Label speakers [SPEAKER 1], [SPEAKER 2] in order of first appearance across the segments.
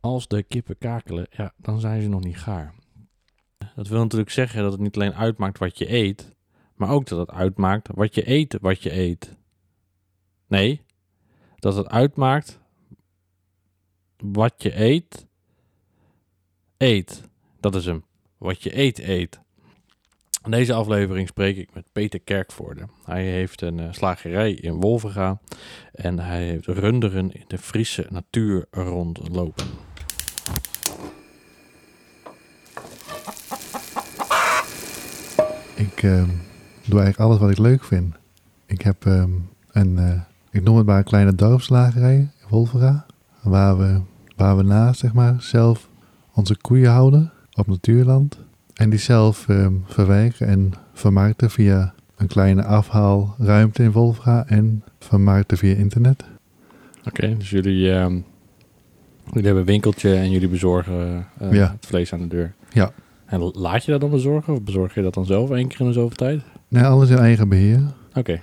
[SPEAKER 1] Als de kippen kakelen, ja, dan zijn ze nog niet gaar.
[SPEAKER 2] Dat wil natuurlijk zeggen dat het niet alleen uitmaakt wat je eet, maar ook dat het uitmaakt wat je eet wat je eet. Nee, dat het uitmaakt wat je eet eet. Dat is hem. Wat je eet eet. In deze aflevering spreek ik met Peter Kerkvoorde. Hij heeft een eh, slagerij in Wolvenga en hij heeft runderen in de Friese natuur rondlopen.
[SPEAKER 3] Ik ehm, doe eigenlijk alles wat ik leuk vind. Ik heb ehm, een, eh, ik noem het maar een kleine dorpslagerij in Wolvera. Waar we, waar we naast, zeg maar, zelf onze koeien houden op natuurland. En die zelf ehm, verwerken en vermarkten via een kleine afhaalruimte in Wolvera. En vermarkten via internet.
[SPEAKER 2] Oké, dus jullie, ehm, jullie hebben een winkeltje en jullie bezorgen eh,
[SPEAKER 3] Ja.
[SPEAKER 2] het vlees aan de deur.
[SPEAKER 3] Ja.
[SPEAKER 2] En laat je dat dan bezorgen of bezorg je dat dan zelf één keer in de zoveel tijd?
[SPEAKER 3] Nee, Nou, alles in eigen beheer.
[SPEAKER 2] Oké,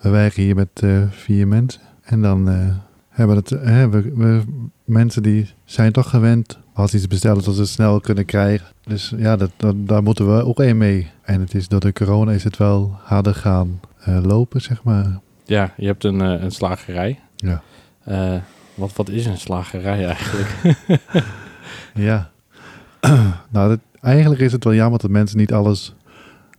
[SPEAKER 3] We werken hier met eh, vier mensen. En dan eh, hebben het, hè, we, we- mensen die zijn toch gewend als iets bestellen dat ze het snel kunnen krijgen. Dus ja, dat, dat- daar moeten we ook één mee. En het is door de corona is het wel harder gaan eh, lopen, zeg maar.
[SPEAKER 2] ja, je hebt een, eh, een slagerij.
[SPEAKER 3] Ja.
[SPEAKER 2] Eh, wat, wat is een slagerij eigenlijk?
[SPEAKER 3] Ja. nou, dat- eigenlijk is het wel jammer dat mensen niet alles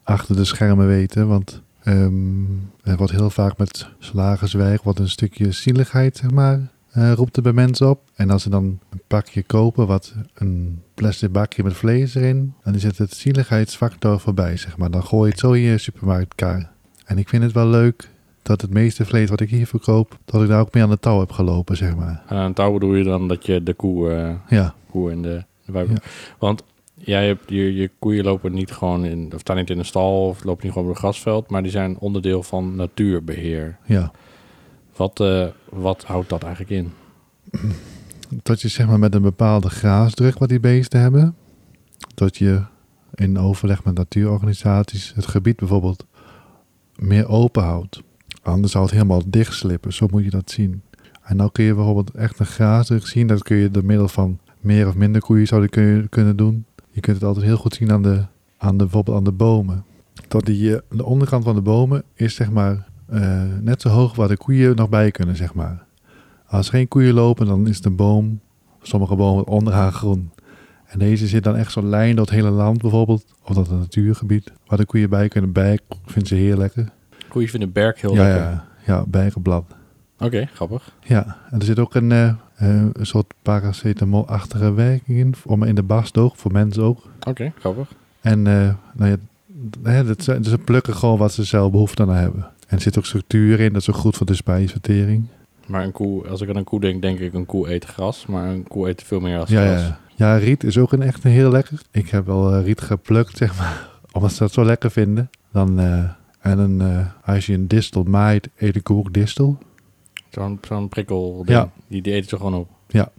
[SPEAKER 3] achter de schermen weten. Want ehm, er wordt heel vaak met slagerswerk wat een stukje zieligheid, zeg maar, eh, roept er bij mensen op. En als ze dan een pakje kopen, wat een plastic bakje met vlees erin, dan is het het zieligheidsfactor voorbij, zeg maar. Dan gooi je het zo in je supermarktkaar. En ik vind het wel leuk dat het meeste vlees wat ik hier verkoop, dat ik daar ook mee aan de touw heb gelopen, zeg maar.
[SPEAKER 2] Aan een touw bedoel je dan dat je de koe, eh,
[SPEAKER 3] Ja,
[SPEAKER 2] koe in de, de wei- Want jij hebt, je, je koeien lopen niet gewoon in, of staan niet in een stal of lopen niet gewoon op een grasveld, maar die zijn onderdeel van natuurbeheer.
[SPEAKER 3] ja.
[SPEAKER 2] Wat, eh, wat houdt dat eigenlijk in?
[SPEAKER 3] dat je zeg maar met een bepaalde graasdruk wat die beesten hebben, dat je in overleg met natuurorganisaties het gebied bijvoorbeeld meer open houdt. Anders zou het helemaal dichtslippen, zo moet je dat zien. En dan kun je bijvoorbeeld echt een graasdruk zien, dat kun je door middel van meer of minder koeien zouden kun- kunnen doen. Je kunt het altijd heel goed zien aan de, aan de, bijvoorbeeld aan de bomen. Dat die, eh, de onderkant van de bomen is zeg maar eh, net zo hoog waar de koeien nog bij kunnen, zeg maar. Als er geen koeien lopen, dan is de boom, sommige bomen onderaan groen. En deze zit dan echt zo'n lijn door het hele land bijvoorbeeld, of dat een natuurgebied, waar de koeien bij kunnen. Bijk vindt ze heel lekker.
[SPEAKER 2] Koeien vinden berk heel
[SPEAKER 3] Ja,
[SPEAKER 2] lekker.
[SPEAKER 3] ja, ja, bijenblad.
[SPEAKER 2] Oké, grappig.
[SPEAKER 3] Ja, en er zit ook een eh, eh, een soort paracetamolachtige werking in, om in de barstoog, voor mensen ook.
[SPEAKER 2] Oké, grappig.
[SPEAKER 3] En eh, nou ja, d- hè, dat, zijn- ze plukken gewoon wat ze zelf behoefte aan hebben. En er zit ook structuur in, dat is ook goed voor de spijsvertering.
[SPEAKER 2] Maar een koe, als ik aan een koe denk, denk ik een koe eet gras. Maar een koe eet veel meer als
[SPEAKER 3] Ja,
[SPEAKER 2] gras.
[SPEAKER 3] ja. ja, riet is ook een echt een heel lekker. Ik heb wel eh, riet geplukt, zeg maar, omdat ze dat zo lekker vinden. Dan, eh, en een, eh, als je een distel maait, eet ik ook distel.
[SPEAKER 2] Zo'n zo'n prikkel
[SPEAKER 3] Ja.
[SPEAKER 2] Die, die eten ze gewoon op.
[SPEAKER 3] Ja.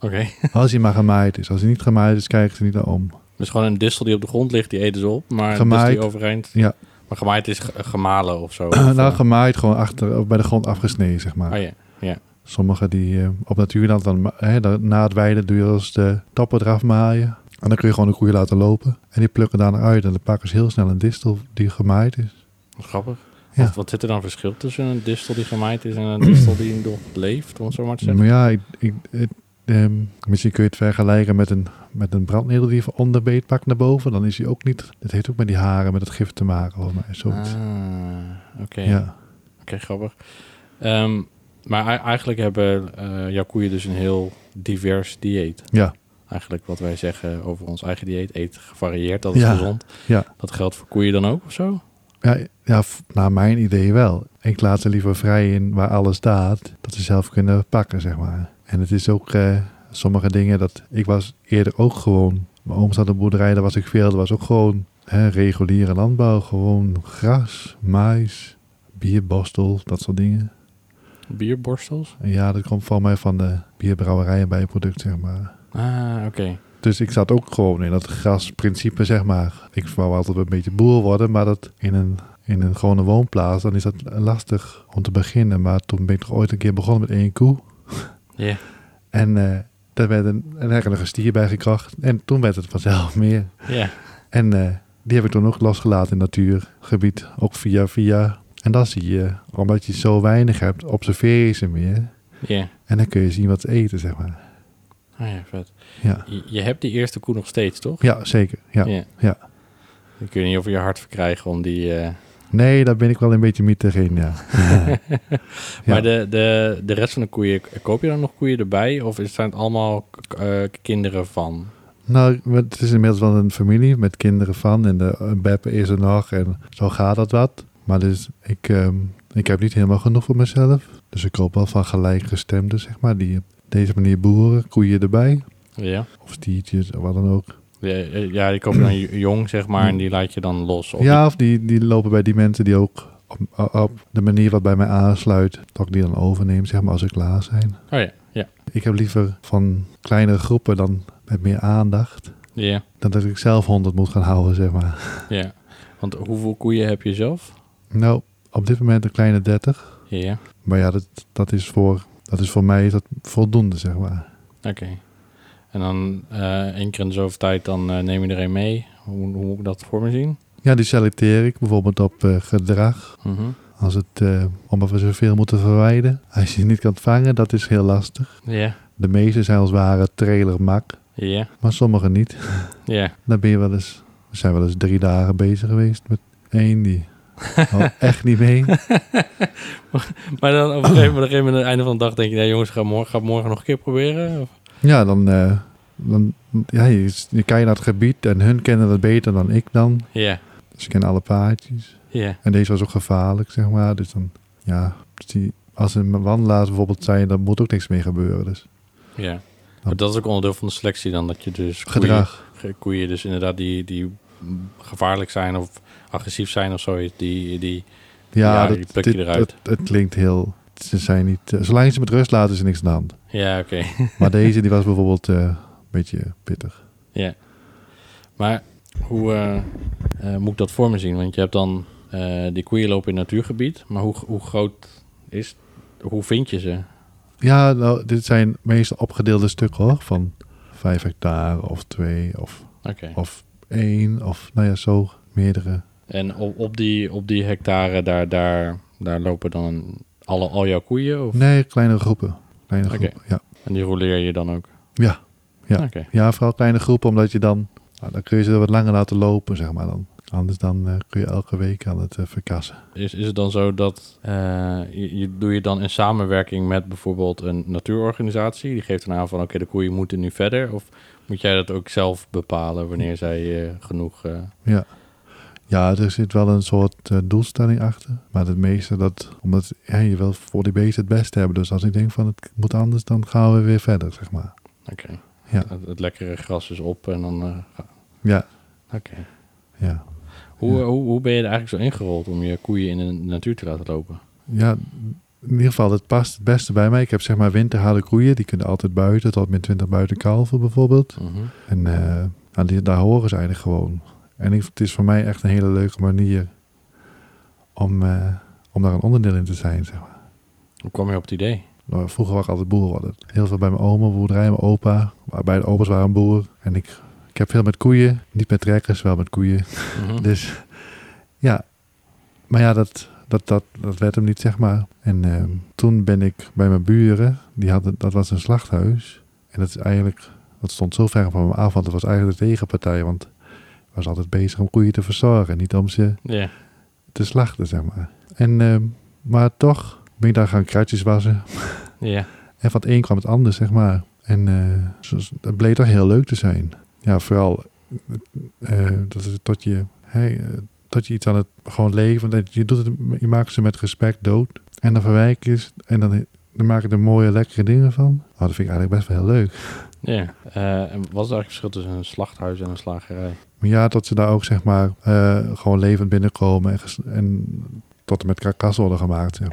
[SPEAKER 2] Oké.
[SPEAKER 3] Als hij maar gemaaid is. Als hij niet gemaaid is, kijken ze niet naar om.
[SPEAKER 2] Dus gewoon een distel die op de grond ligt, die eten ze op. Maar een distel
[SPEAKER 3] Gemaaid.
[SPEAKER 2] die overeind.
[SPEAKER 3] Ja.
[SPEAKER 2] Maar gemaaid is ge- gemalen of zo. Of,
[SPEAKER 3] nou,
[SPEAKER 2] eh,
[SPEAKER 3] gemaaid gewoon achter, of bij de grond afgesneden, zeg maar.
[SPEAKER 2] ah, ja.
[SPEAKER 3] Sommigen die eh, op natuurland, dan, ma- hè, dan- na het weiden doe je als de tappen eraf maaien. En dan kun je gewoon de koeien laten lopen. En die plukken daarna uit. En dan pakken ze heel snel een distel die gemaaid is.
[SPEAKER 2] Wat grappig.
[SPEAKER 3] Ja.
[SPEAKER 2] Wat, wat zit er dan verschil tussen een distel die gemaaid is en een distel die nog leeft, om het zo maar te zeggen?
[SPEAKER 3] Maar ja, ik, ik, het, ehm, misschien kun je het vergelijken met een, met een brandnedel die je van onder beet pakt naar boven. Dan is hij ook niet. Het heeft ook met die haren, met het gif te maken. Volgens mij. Zoiets.
[SPEAKER 2] Ah, oké.
[SPEAKER 3] ja.
[SPEAKER 2] Oké, grappig. Ehm, maar ei- eigenlijk hebben eh jouw koeien dus een heel divers dieet.
[SPEAKER 3] Ja.
[SPEAKER 2] Eigenlijk wat wij zeggen over ons eigen dieet. Eet gevarieerd, dat is
[SPEAKER 3] Ja,
[SPEAKER 2] gezond.
[SPEAKER 3] ja.
[SPEAKER 2] Dat geldt voor koeien dan ook of zo?
[SPEAKER 3] Ja, ja, f- naar mijn idee wel. Ik laat ze liever vrij in waar alles staat, dat ze zelf kunnen pakken, zeg maar. En het is ook eh, sommige dingen dat ik was eerder ook gewoon. Mijn oom zat op een boerderij, daar was ik veel. Dat was ook gewoon hè, reguliere landbouw, gewoon gras, mais, bierborstel, dat soort dingen.
[SPEAKER 2] Bierborstels?
[SPEAKER 3] En ja, dat komt van mij van de bierbrouwerij en bijproduct, zeg maar.
[SPEAKER 2] Ah, oké.
[SPEAKER 3] Dus ik zat ook gewoon in dat grasprincipe, zeg maar. Ik wou altijd een beetje boer worden, maar dat in een, in een gewone woonplaats, dan is dat lastig om te beginnen. Maar toen ben ik toch ooit een keer begonnen met één koe.
[SPEAKER 2] Ja.
[SPEAKER 3] En eh, Daar werd een, en er nog een stier bij gekracht. En toen werd het vanzelf meer.
[SPEAKER 2] Ja.
[SPEAKER 3] En eh, die heb ik toen ook losgelaten in natuurgebied, ook via via. En dan zie je, omdat je zo weinig hebt, observeer je ze meer.
[SPEAKER 2] Ja.
[SPEAKER 3] En dan kun je zien wat ze eten, zeg maar.
[SPEAKER 2] Ah ja, vet.
[SPEAKER 3] Ja,
[SPEAKER 2] Je, je hebt die eerste koe nog steeds, toch?
[SPEAKER 3] ja zeker. Ja. ja.
[SPEAKER 2] Dan kun je niet over je hart verkrijgen om die... eh,
[SPEAKER 3] Nee, daar ben ik wel een beetje mythisch in, ja.
[SPEAKER 2] Maar de, de, de rest van de koeien, k- koop je dan nog koeien erbij? Of is- zijn het allemaal k- eh, kinderen van?
[SPEAKER 3] Nou, het is inmiddels wel een familie met kinderen van. En de een Beb is er nog en zo gaat dat wat. Maar dus, ik, ehm, ik heb niet helemaal genoeg voor mezelf. Dus ik koop wel van gelijkgestemden, zeg maar. Die op deze manier boeren, koeien erbij.
[SPEAKER 2] Ja,
[SPEAKER 3] Of stiertjes, of wat dan ook.
[SPEAKER 2] ja, eh, ja die koop je dan j- jong, zeg maar, en die laat je dan los. Of
[SPEAKER 3] ja, of die, die lopen bij die mensen die ook op, op de manier wat bij mij aansluit, dat ik die dan overneem, zeg maar, als ze klaar zijn.
[SPEAKER 2] die- oh ja, ja.
[SPEAKER 3] Ik heb liever van kleinere groepen dan met meer aandacht,
[SPEAKER 2] Ja,
[SPEAKER 3] dan dat ik zelf honderd moet gaan houden, zeg maar.
[SPEAKER 2] ja. Want hoeveel koeien heb je zelf?
[SPEAKER 3] Nou, op dit moment een kleine 30.
[SPEAKER 2] Ja,
[SPEAKER 3] Maar ja, dat, dat, is, voor, dat is voor mij is dat voldoende, zeg maar.
[SPEAKER 2] oké. En dan eh, één keer in de zoveel tijd, dan eh, neem je er een mee. Hoe, hoe moet ik dat voor me zien?
[SPEAKER 3] Ja, die selecteer ik bijvoorbeeld op eh, gedrag.
[SPEAKER 2] Mhm.
[SPEAKER 3] Als het, eh, omdat we zoveel moeten verwijderen. Als je niet kan vangen, dat is heel lastig.
[SPEAKER 2] Ja,
[SPEAKER 3] De meeste zijn als het ware trailermak,
[SPEAKER 2] ja,
[SPEAKER 3] maar sommigen niet.
[SPEAKER 2] ja.
[SPEAKER 3] Dan ben je wel eens, we zijn wel eens drie dagen bezig geweest met één die al echt niet mee.
[SPEAKER 2] Maar dan op een gegeven moment, op een gegeven moment, aan het einde van de dag denk je... Nee jongens, ga morgen, ga het morgen nog een keer proberen. Of-
[SPEAKER 3] Ja, dan, eh, dan ja, je, je kijkt naar het gebied en hun kennen dat beter dan ik dan.
[SPEAKER 2] Ja,
[SPEAKER 3] Dus ik ken alle paardjes.
[SPEAKER 2] ja,
[SPEAKER 3] En deze was ook gevaarlijk, zeg maar. Dus dan, ja, dus die, als een wandelaars bijvoorbeeld zijn, dan moet ook niks mee gebeuren. Dus
[SPEAKER 2] ja. Maar dat is ook onderdeel van de selectie dan, dat je dus... koeien-
[SPEAKER 3] gedrag.
[SPEAKER 2] ge- koeien dus inderdaad die, die gevaarlijk zijn of agressief zijn of zoiets. Die, die,
[SPEAKER 3] Ja,
[SPEAKER 2] Ja,
[SPEAKER 3] dat,
[SPEAKER 2] die pluk je
[SPEAKER 3] dit-
[SPEAKER 2] eruit.
[SPEAKER 3] dat- het klinkt heel... Ze zijn niet... eh, zolang je ze met rust laat, is er niks aan de hand.
[SPEAKER 2] ja, oké.
[SPEAKER 3] Maar deze, die was bijvoorbeeld eh, een beetje pittig.
[SPEAKER 2] ja. Maar hoe eh, eh, moet ik dat voor me zien? Want je hebt dan, eh, die koeien lopen in het natuurgebied, maar hoe, hoe groot is, hoe vind je ze?
[SPEAKER 3] Ja, nou, dit zijn meestal opgedeelde stukken hoor. Van vijf hectare of twee of,
[SPEAKER 2] Oké.
[SPEAKER 3] of één of nou ja, zo meerdere.
[SPEAKER 2] En op, op, die, op die hectare, daar, daar, daar lopen dan alle, al jouw koeien? Of,
[SPEAKER 3] Nee, kleinere groepen. Kleinere
[SPEAKER 2] Oké.
[SPEAKER 3] groepen, ja.
[SPEAKER 2] En die roleer je dan ook?
[SPEAKER 3] Ja. Ja.
[SPEAKER 2] Oké.
[SPEAKER 3] ja, vooral kleine groepen, omdat je dan... Nou, dan kun je ze wat langer laten lopen, zeg maar dan. Anders dan eh, kun je elke week aan het eh, verkassen.
[SPEAKER 2] Is, is het dan zo dat eh, je, je- doe je dan in samenwerking met bijvoorbeeld een natuurorganisatie? Die geeft dan aan van oké, de koeien moeten nu verder. Of moet jij dat ook zelf bepalen wanneer zij eh, genoeg. eh,
[SPEAKER 3] Ja. Ja, er zit wel een soort eh, doelstelling achter. Maar het meeste dat... Omdat ja, je wil voor die beesten het beste hebben. Dus als ik denk van het moet anders, dan gaan we weer verder, zeg maar.
[SPEAKER 2] oké,
[SPEAKER 3] Ja.
[SPEAKER 2] het, het lekkere gras is op en dan. eh, ga-
[SPEAKER 3] Ja,
[SPEAKER 2] oké.
[SPEAKER 3] ja.
[SPEAKER 2] Hoe,
[SPEAKER 3] Ja.
[SPEAKER 2] hoe, hoe ben je er eigenlijk zo ingerold om je koeien in de natuur te laten lopen?
[SPEAKER 3] Ja, in ieder geval, het past het beste bij mij. Ik heb zeg maar winterharde koeien. Die kunnen altijd buiten, tot met 20 buitenkalven bijvoorbeeld.
[SPEAKER 2] Mhm.
[SPEAKER 3] En eh, nou, die, daar horen ze eigenlijk gewoon. En ik, het is voor mij echt een hele leuke manier om, eh, om daar een onderdeel in te zijn, zeg maar.
[SPEAKER 2] Hoe kwam je op het idee?
[SPEAKER 3] Nou, Vroeger was ik altijd boer. Worden. Heel veel bij mijn oma, boerderij, mijn opa. Maar Beide opa's waren boer. En ik, ik heb veel met koeien. Niet met trekkers, wel met koeien.
[SPEAKER 2] Mhm.
[SPEAKER 3] Dus ja, maar ja, dat, dat, dat, dat werd hem niet, zeg maar. En ehm, toen ben ik bij mijn buren, die hadden, dat was een slachthuis. En dat is eigenlijk, dat stond zo ver van me af, want dat was eigenlijk de tegenpartij. Want ik was altijd bezig om koeien te verzorgen, niet om ze
[SPEAKER 2] Ja,
[SPEAKER 3] te slachten, zeg maar. En, ehm, maar toch ben ik daar gaan kruidjes wassen.
[SPEAKER 2] ja.
[SPEAKER 3] En van het een kwam het ander, zeg maar. En eh, zo- dat bleek toch heel leuk te zijn. Ja, vooral eh, dat, het- dat, je, hè, eh, dat je iets aan het gewoon leven. Dat je, doet het, je maakt ze met respect dood. En dan verwijk je ze. En dan, dan maak je er mooie, lekkere dingen van. Oh, dat vind ik eigenlijk best wel heel leuk.
[SPEAKER 2] ja. Eh, en wat is eigenlijk het verschil tussen een slachthuis en een slagerij?
[SPEAKER 3] Maar ja, dat ze daar ook zeg maar eh, gewoon levend binnenkomen. En, ges- en tot en met karkas worden gemaakt. Ja.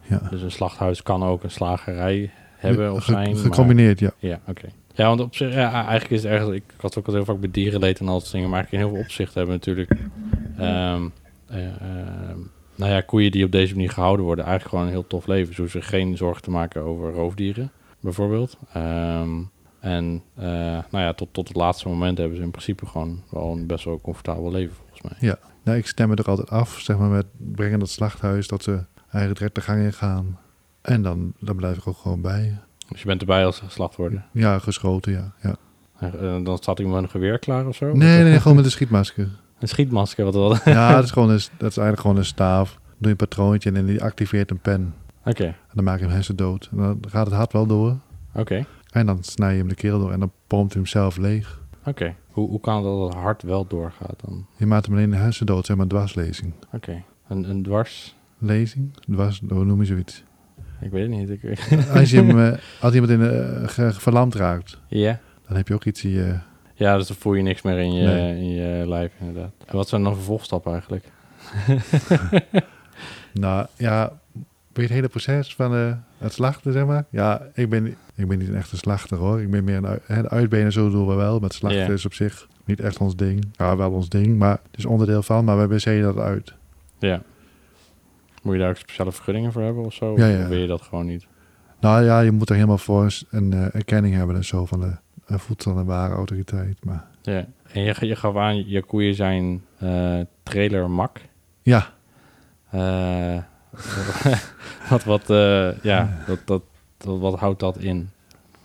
[SPEAKER 3] Ja.
[SPEAKER 2] Dus een slachthuis kan ook een slagerij hebben of
[SPEAKER 3] Ge-
[SPEAKER 2] zijn. maar-
[SPEAKER 3] Gecombineerd, ja.
[SPEAKER 2] Ja, oké. Ja, want op zich, ja, eigenlijk is het erg. Ik had ook al heel vaak bij dierenleed en al dat soort dingen. Maar eigenlijk in heel veel opzichten hebben we natuurlijk. ehm, eh, ehm, nou ja, koeien die op deze manier gehouden worden, eigenlijk gewoon een heel tof leven. Ze hoeven zich geen zorgen te maken over roofdieren, bijvoorbeeld. Ehm, En eh, nou ja, tot, tot het laatste moment hebben ze in principe gewoon wel een best wel comfortabel leven volgens mij.
[SPEAKER 3] Nou, ik stem me er altijd af, zeg maar, met brengen dat slachthuis, dat ze eigenlijk direct de gang in gaan. En dan, dan blijf ik ook gewoon bij.
[SPEAKER 2] Dus je bent erbij als ze geslacht worden.
[SPEAKER 3] Ja, geschoten, ja. ja.
[SPEAKER 2] En, eh, dan staat iemand met een geweer klaar of zo?
[SPEAKER 3] Nee, nee, gewoon met een schietmasker.
[SPEAKER 2] Een schietmasker, wat wel. Oké.
[SPEAKER 3] Ja, dat is, gewoon een, dat is eigenlijk gewoon een staaf. Doe je een patroontje en dan die activeert een pen. En dan maak je hem hersen dood. En dan gaat het hart wel door.
[SPEAKER 2] Oké,
[SPEAKER 3] En dan snij je hem de keel door en dan pompt hij hem zelf leeg.
[SPEAKER 2] oké. Hoe, hoe kan het dat het hart wel doorgaat dan?
[SPEAKER 3] Je maakt hem alleen de hersen dood, zeg maar een dwarslezing.
[SPEAKER 2] Oké, een, een dwars...
[SPEAKER 3] Lezing? Dwars, hoe noem je zoiets?
[SPEAKER 2] Ik weet het niet. Ik...
[SPEAKER 3] Als, je hem, eh, als iemand in, eh, ge- verlamd raakt,
[SPEAKER 2] Ja.
[SPEAKER 3] dan heb je ook iets in je...
[SPEAKER 2] ja, dus dan voel je niks meer in je,
[SPEAKER 3] Nee.
[SPEAKER 2] in je lijf inderdaad. En wat zijn dan vervolgstappen eigenlijk?
[SPEAKER 3] Nou ja, bij het hele proces van eh, het slachten, zeg maar. Ja, ik ben, ik ben niet een echte slachter hoor. Ik ben meer een, uit- hè, de uitbenen, zo doen we wel. Maar het slachten
[SPEAKER 2] Ja.
[SPEAKER 3] is op zich niet echt ons ding. Ja, wel ons ding, maar het is onderdeel van. Maar wij besteden dat uit.
[SPEAKER 2] Ja. Moet je daar ook speciale vergunningen voor hebben of zo?
[SPEAKER 3] Ja, ja.
[SPEAKER 2] Of wil je dat gewoon niet?
[SPEAKER 3] Nou ja, je moet er helemaal voor een eh, erkenning hebben en zo van de eh, voedsel- en warenautoriteit. Maar
[SPEAKER 2] Ja. En je, je gaf aan, je koeien zijn eh, trailer mak.
[SPEAKER 3] ja,
[SPEAKER 2] Eh, wat, wat, eh, ja, dat, dat, dat- wat houdt dat in?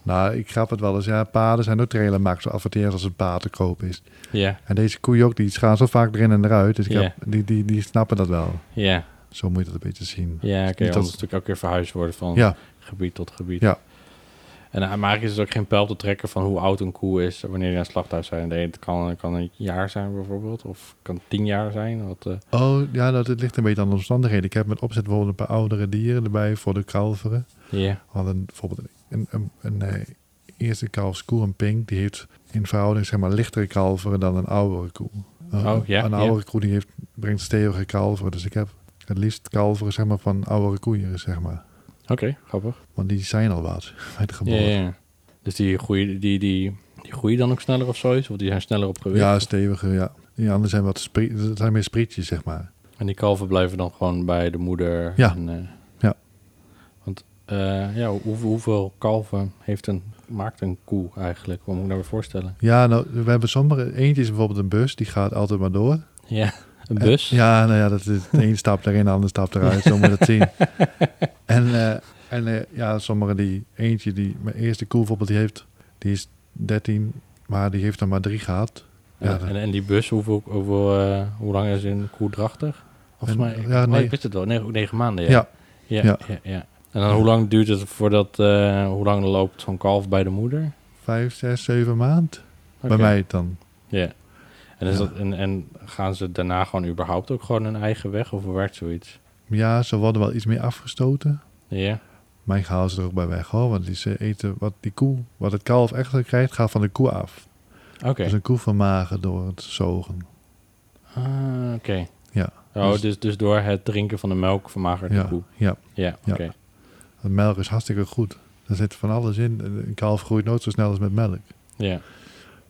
[SPEAKER 3] nou ik grap het wel eens. Ja, paarden zijn ook trailermakers. Zo adverteren ze als een paard te koop is.
[SPEAKER 2] Ja,
[SPEAKER 3] En deze koeien ook, die gaan zo vaak erin en eruit. Dus ik
[SPEAKER 2] Ja.
[SPEAKER 3] heb, die, die, die snappen dat wel.
[SPEAKER 2] ja,
[SPEAKER 3] Zo moet je dat een beetje zien.
[SPEAKER 2] ja. Oké,
[SPEAKER 3] Dus Niet dat-
[SPEAKER 2] anders natuurlijk elke keer verhuisd worden van
[SPEAKER 3] Ja,
[SPEAKER 2] gebied tot gebied.
[SPEAKER 3] Ja.
[SPEAKER 2] En eh, maar eigenlijk is het ook geen pijl te trekken van hoe oud een koe is wanneer die naar het slachthuis zijn. Nee, het kan, kan een jaar zijn bijvoorbeeld, of kan tien jaar zijn. Wat, eh,
[SPEAKER 3] Oh, ja, dat het ligt een beetje aan de omstandigheden. Ik heb met opzet bijvoorbeeld een paar oudere dieren erbij voor de kalveren.
[SPEAKER 2] ja.
[SPEAKER 3] We hadden bijvoorbeeld een, een, een, eh, eerste kalfskoe, een pink, die heeft in verhouding zeg maar lichtere kalveren dan een oudere koe. Een-
[SPEAKER 2] Oh, ja,
[SPEAKER 3] Een
[SPEAKER 2] ja.
[SPEAKER 3] oudere koe die heeft, brengt stevige kalveren. Dus ik heb het liefst kalveren zeg maar, van oudere koeien, zeg maar.
[SPEAKER 2] Oké, grappig.
[SPEAKER 3] Want die zijn al wat bij de
[SPEAKER 2] Ja,
[SPEAKER 3] geboorte.
[SPEAKER 2] ja, ja. Dus die groeien, die, die, die groeien dan ook sneller of zoiets? Of die zijn sneller op gewicht?
[SPEAKER 3] Ja, steviger, ja. Die anderen zijn wat sprie- dat zijn meer sprietjes, zeg maar.
[SPEAKER 2] En die kalven blijven dan gewoon bij de moeder?
[SPEAKER 3] Ja.
[SPEAKER 2] En, eh,
[SPEAKER 3] Ja.
[SPEAKER 2] Want eh, ja, hoe, hoeveel kalven heeft een, maakt een koe eigenlijk? Wat moet ik nou weer voorstellen?
[SPEAKER 3] Ja, nou, we hebben sommige... Eentje is bijvoorbeeld een bus, die gaat altijd maar door.
[SPEAKER 2] Ja, een bus?
[SPEAKER 3] Eh, Ja, nou ja, dat is de een stap erin, de ander stap eruit. Zo moet je dat zien. En, eh, en eh, ja, sommigen die... Eentje die... Mijn eerste koe bijvoorbeeld, die heeft... Die is 13, maar die heeft er maar drie gehad. Ja, dat-
[SPEAKER 2] en, en die bus, hoeveel, hoeveel, eh, hoe lang is een koe drachtig? Volgens
[SPEAKER 3] En-
[SPEAKER 2] mij,
[SPEAKER 3] ja,
[SPEAKER 2] oh,
[SPEAKER 3] nee.
[SPEAKER 2] ik wist het wel, negen, negen maanden. Ja. Ja,
[SPEAKER 3] Ja.
[SPEAKER 2] ja.
[SPEAKER 3] Ja.
[SPEAKER 2] ja. En dan hoe lang duurt het voordat, eh, hoe lang loopt zo'n kalf bij de moeder?
[SPEAKER 3] Vijf, zes, zeven maand.
[SPEAKER 2] Oké.
[SPEAKER 3] Bij mij dan.
[SPEAKER 2] Ja. En, is
[SPEAKER 3] Ja.
[SPEAKER 2] Dat, en, en gaan ze daarna gewoon überhaupt ook gewoon hun eigen weg? Of hoe werkt zoiets?
[SPEAKER 3] Ja, ze worden wel iets meer afgestoten.
[SPEAKER 2] Ja,
[SPEAKER 3] Maar ik haal ze er ook bij weg, hoor. Want die, ze eten wat die koe... Wat het kalf echt krijgt, gaat van de koe af.
[SPEAKER 2] oké.
[SPEAKER 3] Dus een koe vermagen door het zogen.
[SPEAKER 2] Ah, oké.
[SPEAKER 3] Ja.
[SPEAKER 2] Oh, dus,
[SPEAKER 3] Dus-
[SPEAKER 2] dus, door het drinken van de melk vermagert de
[SPEAKER 3] Ja,
[SPEAKER 2] koe.
[SPEAKER 3] ja.
[SPEAKER 2] Ja, oké.
[SPEAKER 3] Ja. Want melk is hartstikke goed. Daar zit van alles in. Een kalf groeit nooit zo snel als met melk.
[SPEAKER 2] Ja.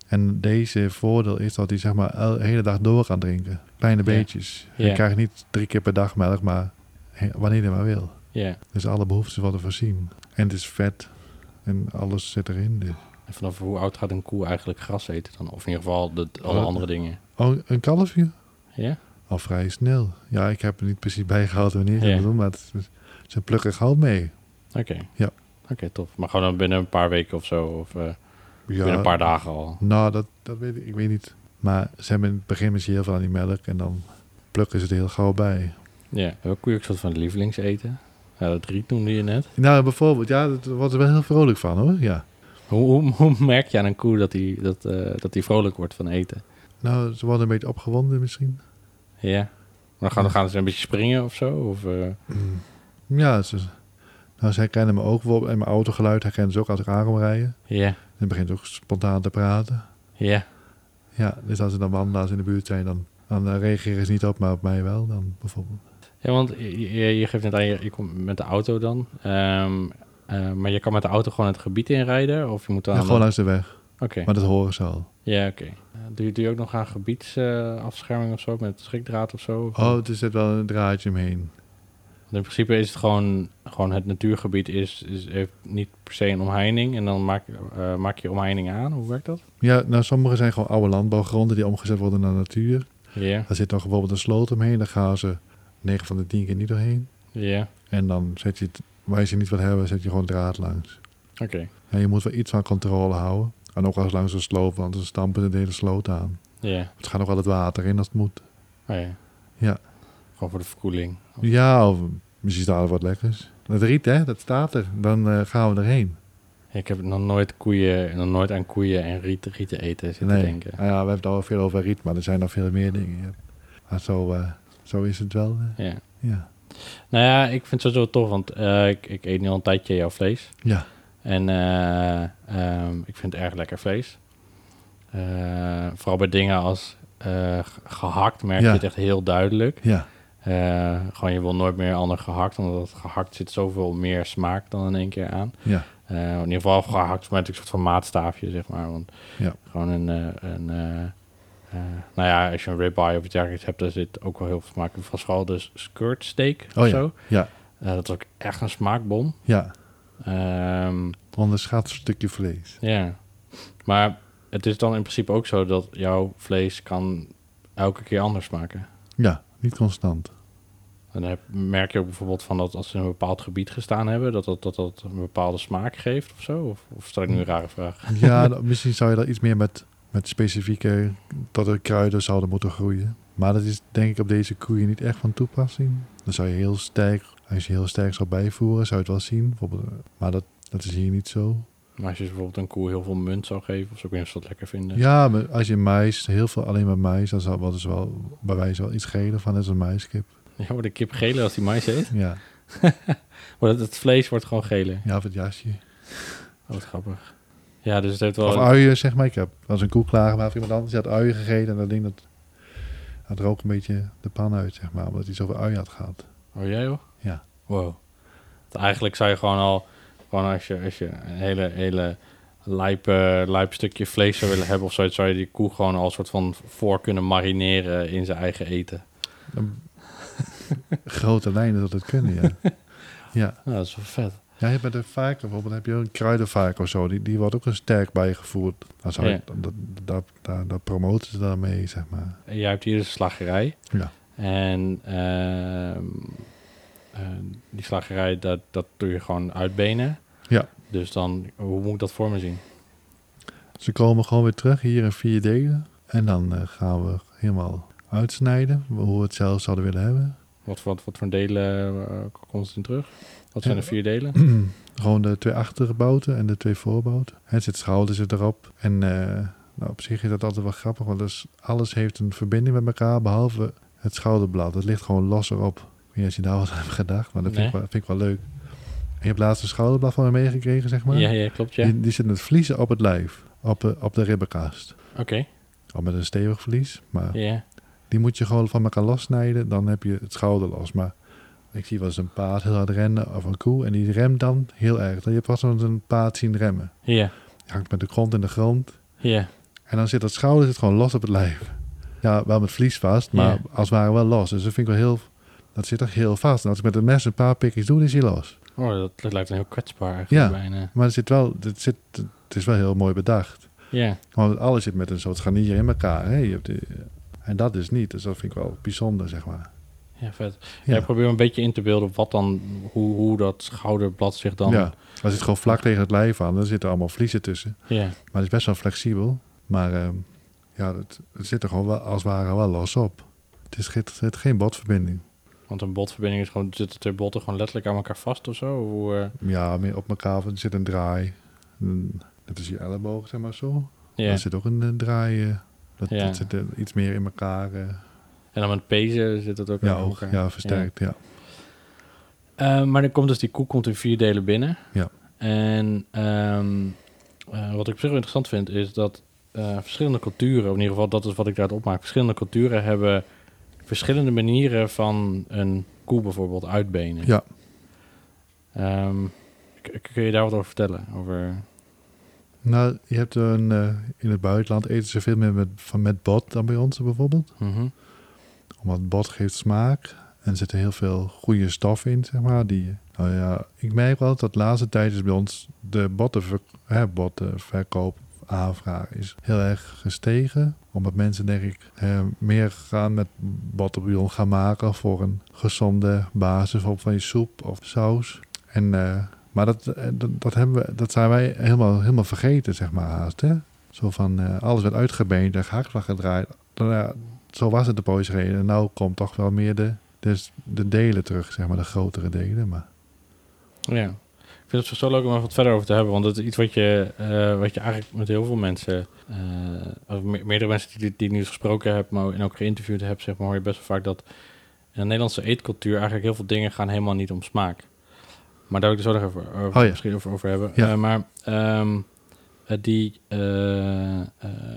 [SPEAKER 3] En deze voordeel is dat hij zeg maar el- de hele dag door kan drinken. Kleine
[SPEAKER 2] Ja.
[SPEAKER 3] beetjes.
[SPEAKER 2] Ja.
[SPEAKER 3] Je krijgt niet drie keer per dag melk, maar he- wanneer hij maar wil.
[SPEAKER 2] ja.
[SPEAKER 3] Dus alle behoeftes worden voorzien. En het is vet. En alles zit erin. Dus-
[SPEAKER 2] En vanaf hoe oud gaat een koe eigenlijk gras eten dan? Of in ieder geval de, alle
[SPEAKER 3] Oh.
[SPEAKER 2] andere dingen.
[SPEAKER 3] Oh, een kalfje?
[SPEAKER 2] Ja?
[SPEAKER 3] Al vrij snel. Ja, ik heb er niet precies bijgehouden wanneer ze
[SPEAKER 2] Ja.
[SPEAKER 3] dat doen, maar het, het- ze plukken gauw mee.
[SPEAKER 2] Oké.
[SPEAKER 3] Ja.
[SPEAKER 2] Oké, tof. Maar gewoon dan binnen een paar weken of zo. Of eh,
[SPEAKER 3] Ja,
[SPEAKER 2] binnen een paar dagen al.
[SPEAKER 3] Nou, dat, dat weet ik, ik weet niet. Maar ze hebben in het begin misschien heel veel aan die melk en dan plukken ze het heel gauw bij.
[SPEAKER 2] Ja. Welke koe ook soort van lievelingseten? Ja, dat riet noemde je net.
[SPEAKER 3] Nou, bijvoorbeeld, ja, daar wordt er wel heel vrolijk van hoor. Ja.
[SPEAKER 2] Hoe, hoe, hoe merk je aan een koe dat hij dat, eh, dat die vrolijk wordt van eten?
[SPEAKER 3] Nou, ze worden een beetje opgewonden misschien.
[SPEAKER 2] Ja. Maar dan gaan,
[SPEAKER 3] Ja.
[SPEAKER 2] gaan ze een beetje springen of zo? Of, eh,
[SPEAKER 3] Ja, ze, nou, ze herkennen me ook bijvoorbeeld. En mijn autogeluid herkennen ze ook als ik aankom rijden.
[SPEAKER 2] Ja.
[SPEAKER 3] En dan begint ze ook spontaan te praten.
[SPEAKER 2] Ja.
[SPEAKER 3] Ja, dus als er dan wandelaars in de buurt zijn, dan, dan eh, reageren ze niet op, maar op mij wel dan bijvoorbeeld.
[SPEAKER 2] Ja, want je, je- je geeft net aan, je, je komt met de auto dan. Ehm, eh, maar je kan met de auto gewoon het gebied inrijden? Of je moet dan...
[SPEAKER 3] Ja, gewoon langs de weg.
[SPEAKER 2] Oké.
[SPEAKER 3] Maar dat horen ze al.
[SPEAKER 2] Ja, oké. Eh, Doe, je- doe je ook nog aan gebiedsafscherming of zo? Met schrikdraad of zo?
[SPEAKER 3] Oh, er zit wel een draadje omheen.
[SPEAKER 2] Want In principe is het gewoon, gewoon het natuurgebied is, is, heeft niet per se een omheining. En dan maak, eh, maak je omheining aan. Hoe werkt dat?
[SPEAKER 3] Ja, nou, sommige zijn gewoon oude landbouwgronden die omgezet worden naar natuur.
[SPEAKER 2] Ja,
[SPEAKER 3] Daar zit dan bijvoorbeeld een sloot omheen. Daar gaan ze 9 van de 10 keer niet doorheen.
[SPEAKER 2] ja.
[SPEAKER 3] En dan zet je het, waar je ze niet wil hebben, zet je gewoon draad langs.
[SPEAKER 2] Oké.
[SPEAKER 3] En je moet wel iets van controle houden. En ook als langs een sloot, want ze stampen de hele sloot aan.
[SPEAKER 2] Ja.
[SPEAKER 3] Het gaat ook wel het water in als het moet.
[SPEAKER 2] Oh, ja.
[SPEAKER 3] Ja.
[SPEAKER 2] Gewoon voor de verkoeling.
[SPEAKER 3] Ja, of misschien staat er wat lekkers. Het riet, hè, dat staat er. Dan eh, gaan we erheen.
[SPEAKER 2] Ik heb nog nooit koeien, nog nooit aan koeien en riet, rieten eten zitten denken.
[SPEAKER 3] Ah ja, we hebben het al veel over riet, maar er zijn nog veel meer dingen. ja. Maar zo, eh, zo is het wel. eh,
[SPEAKER 2] Ja.
[SPEAKER 3] ja.
[SPEAKER 2] Nou ja, ik vind het sowieso tof, want eh, ik, ik eet nu al een tijdje jouw vlees.
[SPEAKER 3] Ja.
[SPEAKER 2] En eh, ehm, ik vind het erg lekker vlees. Eh, vooral bij dingen als eh, ge- gehakt merk
[SPEAKER 3] Ja.
[SPEAKER 2] je het echt heel duidelijk.
[SPEAKER 3] Ja.
[SPEAKER 2] Eh, gewoon je wil nooit meer ander gehakt, omdat gehakt zit zoveel meer smaak dan in één keer aan.
[SPEAKER 3] Ja.
[SPEAKER 2] Eh, in ieder geval gehakt met een soort van maatstaafje, zeg maar. Want
[SPEAKER 3] Ja.
[SPEAKER 2] gewoon een, eh, een eh, eh, nou ja, als je een ribeye of iets dergelijks hebt, daar zit ook wel heel veel smaak in. Vooral de skirt steak
[SPEAKER 3] Oh
[SPEAKER 2] of
[SPEAKER 3] ja.
[SPEAKER 2] zo.
[SPEAKER 3] Ja.
[SPEAKER 2] Eh, dat is ook echt een smaakbom.
[SPEAKER 3] Ja.
[SPEAKER 2] Ehm,
[SPEAKER 3] Onderschat stukje vlees.
[SPEAKER 2] ja. Maar het is dan in principe ook zo dat jouw vlees kan elke keer anders smaken.
[SPEAKER 3] Ja, niet constant.
[SPEAKER 2] En dan heb- merk je ook bijvoorbeeld van dat als ze in een bepaald gebied gestaan hebben, dat dat, dat, dat een bepaalde smaak geeft of zo? Of, of stel ik nu een rare vraag?
[SPEAKER 3] Ja, dan- misschien zou je daar iets meer met, met specifieke dat er kruiden zouden moeten groeien. Maar dat is denk ik op deze koeien niet echt van toepassing. Dan zou je heel sterk, als je heel sterk zou bijvoeren, zou je het wel zien. Bijvoorbeeld, eh, Maar dat, dat is hier niet zo.
[SPEAKER 2] Maar als je ze bijvoorbeeld een koe heel veel munt zou geven, of zo, ik weet niet of ze dat lekker vinden.
[SPEAKER 3] Ja, maar als je mais, heel veel alleen maar mais, dan zou wat is wel bij wijze wel iets schelen van net als een maiskip.
[SPEAKER 2] Ja, wordt de kip geler als die mais eet?
[SPEAKER 3] Ja,
[SPEAKER 2] Wordt het, het vlees wordt gewoon geler.
[SPEAKER 3] ja of het jasje.
[SPEAKER 2] Oh, wat grappig. Ja, dus het heeft wel...
[SPEAKER 3] Of uien, zeg maar. Ik heb als een koe klaargemaakt voor iemand anders. Die had uien gegeten en dat ding dat, dat rook een beetje de pan uit, zeg maar. Omdat hij zoveel uien had gehad.
[SPEAKER 2] Oh, jij hoor?
[SPEAKER 3] Ja.
[SPEAKER 2] Wow. Want eigenlijk zou je gewoon al, gewoon als je, als je een hele, hele lijp, eh, lijp stukje vlees zou willen hebben of zoiets, zou je die koe gewoon al soort van voor kunnen marineren in zijn eigen eten.
[SPEAKER 3] Dan- grote lijnen dat het kunnen, ja. ja.
[SPEAKER 2] Nou, dat is wel vet.
[SPEAKER 3] Ja, je bent een vaker bijvoorbeeld. heb je ook een kruidenvaak of zo. Die, die wordt ook een sterk bijgevoerd. Dan zou
[SPEAKER 2] Ja.
[SPEAKER 3] ik- dat, dat, dat, dat promoten ze daarmee, zeg maar.
[SPEAKER 2] En Jij hebt hier dus een slagerij.
[SPEAKER 3] Ja.
[SPEAKER 2] En ehm, eh, die slagerij, dat, dat doe je gewoon uitbenen.
[SPEAKER 3] Ja.
[SPEAKER 2] Dus dan, hoe moet ik dat voor me zien?
[SPEAKER 3] Ze komen gewoon weer terug hier in vier delen. En dan eh, gaan we helemaal uitsnijden. Hoe we het zelf zouden willen hebben.
[SPEAKER 2] Wat, wat, wat voor delen eh, komt het in terug? Wat zijn
[SPEAKER 3] Ja.
[SPEAKER 2] de vier delen?
[SPEAKER 3] Gewoon de twee achterbouten en de twee voorbouten. Het zit schouder zit erop. En eh, nou, op zich is dat altijd wel grappig, want dus alles heeft een verbinding met elkaar, behalve het schouderblad. Het ligt gewoon los erop. Ik weet niet als je daar wat aan hebt gedacht, maar dat vind, ik,
[SPEAKER 2] Nee.
[SPEAKER 3] wel, vind ik wel leuk. En je hebt laatst een schouderblad van me meegekregen, zeg maar.
[SPEAKER 2] Ja, ja, klopt, ja.
[SPEAKER 3] Die, die zit met vliezen op het lijf, op, de- op de ribbenkast.
[SPEAKER 2] Oké,
[SPEAKER 3] Al met een stevig vlies, maar
[SPEAKER 2] ja.
[SPEAKER 3] die moet je gewoon van elkaar lossnijden. Dan heb je het schouder los. Maar ik zie wel eens een paard heel hard rennen of een koe. En die remt dan heel erg. Je hebt pas wel eens een paard zien remmen.
[SPEAKER 2] Ja,
[SPEAKER 3] Die hangt met de grond in de grond.
[SPEAKER 2] ja.
[SPEAKER 3] En dan zit dat schouder zit gewoon los op het lijf. Ja, wel met vlies vast, maar
[SPEAKER 2] Ja.
[SPEAKER 3] als het ware wel los. Dus dat vind ik wel heel... Dat zit toch heel vast. En als ik met een mes een paar pikjes doe, dan is hij los.
[SPEAKER 2] Oh, dat, dat lijkt een heel kwetsbaar eigenlijk
[SPEAKER 3] Ja.
[SPEAKER 2] bijna.
[SPEAKER 3] Maar het, zit wel, het, zit, het is wel heel mooi bedacht.
[SPEAKER 2] Ja,
[SPEAKER 3] Want alles zit met een soort scharnier in elkaar. Hè? Je hebt die- en dat is niet. Dus dat vind ik wel bijzonder, zeg maar.
[SPEAKER 2] ja vet.
[SPEAKER 3] Ja.
[SPEAKER 2] Ja. probeer een beetje in te beelden wat dan, hoe, hoe dat schouderblad zich dan...
[SPEAKER 3] Ja, als het gewoon vlak tegen het lijf aan, dan zitten allemaal vliezen tussen.
[SPEAKER 2] ja.
[SPEAKER 3] Maar het is best wel flexibel. Maar ehm, ja, het, het zit er gewoon wel, als het ware wel los op. Het is, ge- het is geen botverbinding.
[SPEAKER 2] Want een botverbinding is gewoon, zitten twee botten gewoon letterlijk aan elkaar vast of zo? Hoe, eh,
[SPEAKER 3] Ja, meer op elkaar, want er zit een draai. Een- Dat is je elleboog, zeg maar zo.
[SPEAKER 2] ja.
[SPEAKER 3] Daar zit ook een eh, draai. eh, dat,
[SPEAKER 2] Ja.
[SPEAKER 3] dat zit eh, iets meer in elkaar. eh,
[SPEAKER 2] En dan met pezen zit het ook
[SPEAKER 3] ja,
[SPEAKER 2] aan
[SPEAKER 3] ook,
[SPEAKER 2] elkaar.
[SPEAKER 3] ja, versterkt. Ja.
[SPEAKER 2] Eh, maar dan komt dus die koe komt in vier delen binnen.
[SPEAKER 3] Ja.
[SPEAKER 2] En ehm, eh, wat ik op zich wel interessant vind is dat eh, verschillende culturen, of in ieder geval dat is wat ik daaruit opmaak, verschillende culturen hebben verschillende manieren van een koe bijvoorbeeld uitbenen.
[SPEAKER 3] Ja.
[SPEAKER 2] Ehm, k- kun je daar wat over vertellen? Over...
[SPEAKER 3] Nou, je hebt een, eh, in het buitenland eten ze veel meer met, van, met bot dan bij ons bijvoorbeeld.
[SPEAKER 2] Mhm.
[SPEAKER 3] Omdat bot geeft smaak En er zitten heel veel goede stoffen in, zeg maar. Die, nou ja, ik merk wel dat de laatste tijd is bij ons de bottenver, hè, bottenverkoop aanvraag is heel erg gestegen. Omdat mensen, denk ik, eh, meer gaan met bottenbouillon gaan maken voor een gezonde basis bijvoorbeeld van je soep of saus. En, eh, maar dat, eh, dat, dat, hebben we, dat zijn wij helemaal, helemaal vergeten, zeg maar, haast. Hè? Zo van, eh, alles werd uitgebeend en gehaktslag gedraaid. Nou ja, zo was het de poëzie. En nou komt toch wel meer de, dus de delen terug, zeg maar, de grotere delen. Maar
[SPEAKER 2] Ja. Ik vind het zo leuk om er wat verder over te hebben. Want dat is iets wat je, eh, wat je eigenlijk met heel veel mensen... eh, of me- meerdere mensen die, die ik nu eens gesproken heb maar, en ook geïnterviewd heb... Zeg maar, hoor je best wel vaak dat in de Nederlandse eetcultuur... eigenlijk heel veel dingen gaan helemaal niet om smaak. Maar daar wil ik het zo nog even over,
[SPEAKER 3] Oh ja.
[SPEAKER 2] misschien over, over hebben.
[SPEAKER 3] Ja.
[SPEAKER 2] Eh, maar ehm, eh, die... eh, eh,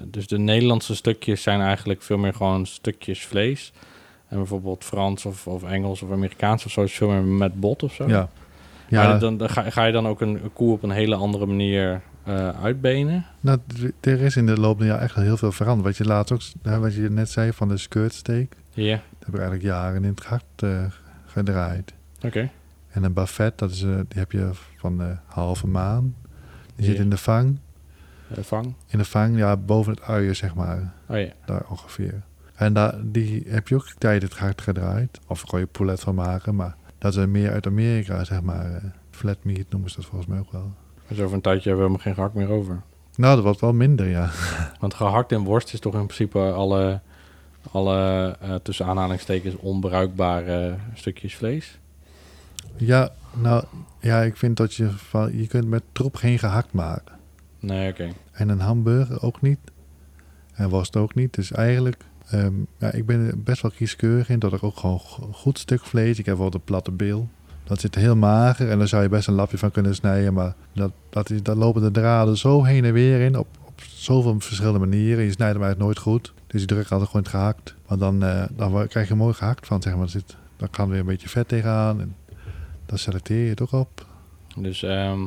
[SPEAKER 2] dus de Nederlandse stukjes zijn eigenlijk veel meer gewoon stukjes vlees... En bijvoorbeeld Frans of, of Engels of Amerikaans of zo is veel meer met bot of zo.
[SPEAKER 3] ja.
[SPEAKER 2] Ja.
[SPEAKER 3] Ja,
[SPEAKER 2] dan, dan ga, ga je dan ook een, een koe op een hele andere manier eh, uitbenen?
[SPEAKER 3] nou, d- er is in de loop der jaren echt wel heel veel veranderd. Wat je laatst ook, s- hè, wat je net zei van de skirtsteak,
[SPEAKER 2] Ja,
[SPEAKER 3] dat heb ik eigenlijk jaren in het hart eh, gedraaid.
[SPEAKER 2] oké.
[SPEAKER 3] En een buffet, dat is, eh, die heb je van de halve maan. Die zit
[SPEAKER 2] Ja.
[SPEAKER 3] in de vang.
[SPEAKER 2] Eh, vang.
[SPEAKER 3] In de vang, ja, boven het uien, zeg maar.
[SPEAKER 2] Oh ja,
[SPEAKER 3] Daar ongeveer. En daar, die heb je ook tijd het hard gedraaid. Of kon je poulet van maken, maar dat is meer uit Amerika, zeg maar. eh, Flat meat noemen ze dat volgens mij ook wel.
[SPEAKER 2] dus over een tijdje hebben we helemaal geen gehakt meer over.
[SPEAKER 3] Nou, dat wordt wel minder, ja.
[SPEAKER 2] Want gehakt en worst is toch in principe alle, alle eh, tussen aanhalingstekens onbruikbare stukjes vlees?
[SPEAKER 3] Ja, nou, ja, ik vind dat je van, je kunt met troep geen gehakt maken.
[SPEAKER 2] Nee, oké.
[SPEAKER 3] En een hamburger ook niet. En worst ook niet. Dus eigenlijk, ehm, ja, ik ben er best wel kieskeurig in dat er ook gewoon go- goed stuk vlees. Ik heb wel de platte bil. Dat zit heel mager en daar zou je best een lapje van kunnen snijden. Maar dat, dat is, daar lopen de draden zo heen en weer in op, op zoveel verschillende manieren. Je snijdt hem eigenlijk nooit goed. Dus je drukt altijd gewoon het gehakt. Want dan, eh, dan wa- krijg je mooi gehakt van, zeg maar. Er Zit, dan kan weer een beetje vet tegenaan. En dan selecteer je het ook op.
[SPEAKER 2] Dus ehm,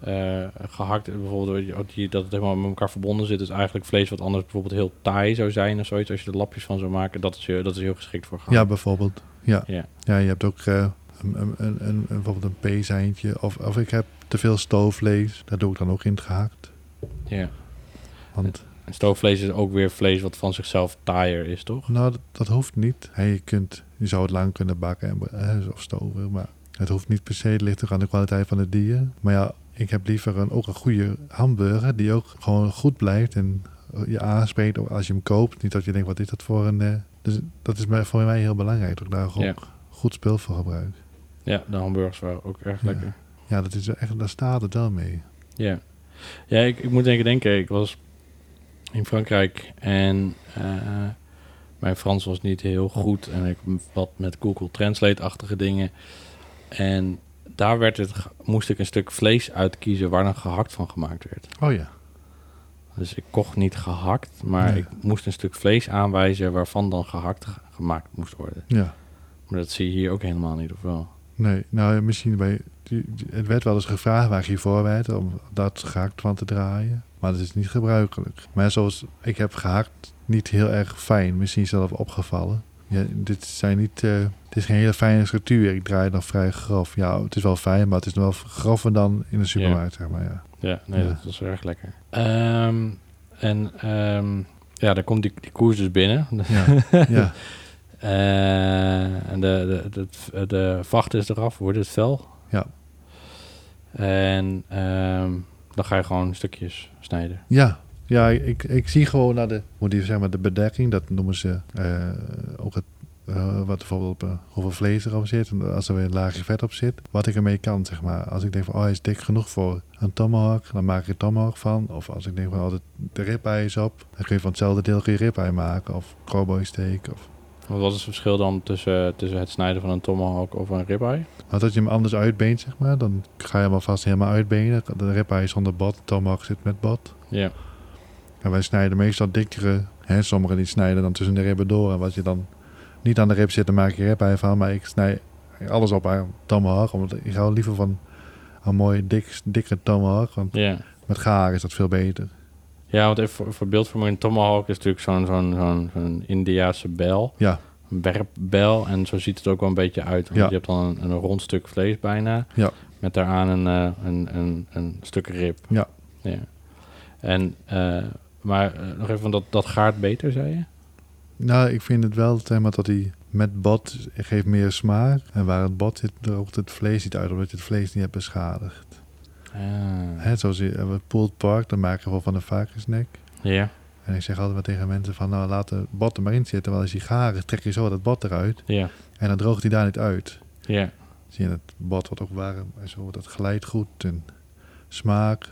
[SPEAKER 2] eh, gehakt, bijvoorbeeld weet je, ook die, dat het helemaal met elkaar verbonden zit, is eigenlijk vlees wat anders bijvoorbeeld heel taai zou zijn of zoiets. Als je er lapjes van zou maken, dat is, heel- dat is heel geschikt voor gehakt.
[SPEAKER 3] Ja, bijvoorbeeld. Ja.
[SPEAKER 2] Ja.
[SPEAKER 3] ja, je hebt ook eh, een, een, een, een, bijvoorbeeld een peeseintje. Of, of ik heb te veel stoofvlees. Daar doe ik dan ook in het gehakt.
[SPEAKER 2] Ja.
[SPEAKER 3] Want
[SPEAKER 2] En stoofvlees is ook weer vlees wat van zichzelf taaier is, toch?
[SPEAKER 3] nou, dat, dat hoeft niet. Hey, je, kunt, je zou het lang kunnen bakken en, eh, of stoven. Maar het hoeft niet per se. Het ligt ook aan de kwaliteit van het dier. Maar ja, ik heb liever een, ook een goede hamburger. Die ook gewoon goed blijft. En eh, je aanspreekt ook als je hem koopt. Niet dat je denkt, wat is dat voor een... eh, dus dat is mij- voor mij heel belangrijk. Dat ik daar gewoon
[SPEAKER 2] Ja.
[SPEAKER 3] goed spul voor gebruik.
[SPEAKER 2] Ja, de hamburgers waren ook erg
[SPEAKER 3] Ja.
[SPEAKER 2] lekker.
[SPEAKER 3] Ja, dat is wel echt, daar staat het wel mee.
[SPEAKER 2] Ja, ja ik, ik moet denken, denken, ik was in Frankrijk en eh, mijn Frans was niet heel goed en ik wat met Google Translate-achtige dingen. En daar werd het, ge- moest ik een stuk vlees uitkiezen waar dan gehakt van gemaakt werd.
[SPEAKER 3] Oh ja.
[SPEAKER 2] Dus ik kocht niet gehakt, maar
[SPEAKER 3] Nee.
[SPEAKER 2] ik moest een stuk vlees aanwijzen waarvan dan gehakt ge- gemaakt moest worden.
[SPEAKER 3] Ja.
[SPEAKER 2] Maar dat zie je hier ook helemaal niet, of wel?
[SPEAKER 3] Nee, nou ja, misschien bij... die- die- Het werd wel eens gevraagd waar je voor werd om dat gehakt van te draaien. Maar dat is niet gebruikelijk. Maar zoals ik heb gehakt, niet heel erg fijn. Misschien is dat wel opgevallen. Ja, dit, zijn niet, eh, het is geen hele fijne structuur. Ik draai het nog vrij grof. Ja, het is wel fijn, maar het is nog wel grover dan in de supermarkt, zeg maar. Ja.
[SPEAKER 2] Ja, nee,
[SPEAKER 3] Ja.
[SPEAKER 2] dat was erg lekker. Ehm, en ehm, ja, dan komt die, die koers dus binnen.
[SPEAKER 3] Ja. ja.
[SPEAKER 2] Eh, en de, de, de, de vacht is eraf, wordt het vel.
[SPEAKER 3] Ja.
[SPEAKER 2] En ehm, dan ga je gewoon stukjes snijden.
[SPEAKER 3] Ja, ja ik, ik zie gewoon naar de, hoe die, zeg maar, de bedekking, dat noemen ze eh, ook het, eh, wat bijvoorbeeld op, eh, hoeveel vlees erop zit. En als er weer een laagje vet op zit, wat ik ermee kan, zeg maar. Als ik denk van, oh, hij is dik genoeg voor een tomahawk, dan maak ik een tomahawk van. Of als ik denk van, oh, de, de ribeye is op, dan kun je van hetzelfde deel kun je ribeye maken. Of cowboy steak. Of,
[SPEAKER 2] Wat was het verschil dan tussen, tussen het snijden van een tomahawk of een ribeye?
[SPEAKER 3] maar dat je hem anders uitbeent, zeg maar, dan ga je hem alvast helemaal uitbenen. De ribeye is zonder bot, de tomahawk zit met bot.
[SPEAKER 2] Ja,
[SPEAKER 3] En wij snijden meestal dikkere. Hè, sommigen die snijden dan tussen de ribben door. En wat je dan niet aan de rib zit, dan maak je ribben van. Maar ik snij alles op aan tomahawk. Omdat ik hou liever van een mooie dik, dikke tomahawk. Want
[SPEAKER 2] ja.
[SPEAKER 3] met gaar is dat veel beter.
[SPEAKER 2] Ja, want even voor, voor beeld voor een tomahawk is natuurlijk zo'n zo'n zo'n zo'n Indiaanse bel.
[SPEAKER 3] Ja.
[SPEAKER 2] werpbel. En zo ziet het ook wel een beetje uit. Want
[SPEAKER 3] Ja.
[SPEAKER 2] je hebt dan een, een rond stuk vlees bijna.
[SPEAKER 3] Ja.
[SPEAKER 2] Met daaraan een, eh, een, een, een stuk rib.
[SPEAKER 3] Ja.
[SPEAKER 2] ja. En, eh, maar eh, nog even, want dat, dat gaat beter, zei je?
[SPEAKER 3] Nou, ik vind het wel zeg maar, dat hij met bad geeft meer smaak. En waar het bad zit, droogt het vlees niet uit, omdat je het vlees niet hebt beschadigd.
[SPEAKER 2] Ah.
[SPEAKER 3] Hè, zoals je, eh, pulled park, dan maken we wel van een varkensnek.
[SPEAKER 2] Ja,
[SPEAKER 3] En ik zeg altijd wel tegen mensen van, nou laat het bad er maar in zitten. Want als hij gaar is, trek je zo dat bad eruit.
[SPEAKER 2] ja,
[SPEAKER 3] En dan droogt hij daar niet uit.
[SPEAKER 2] ja.
[SPEAKER 3] Zie je, het bad wordt ook warm en zo, dat glijdt goed en smaak.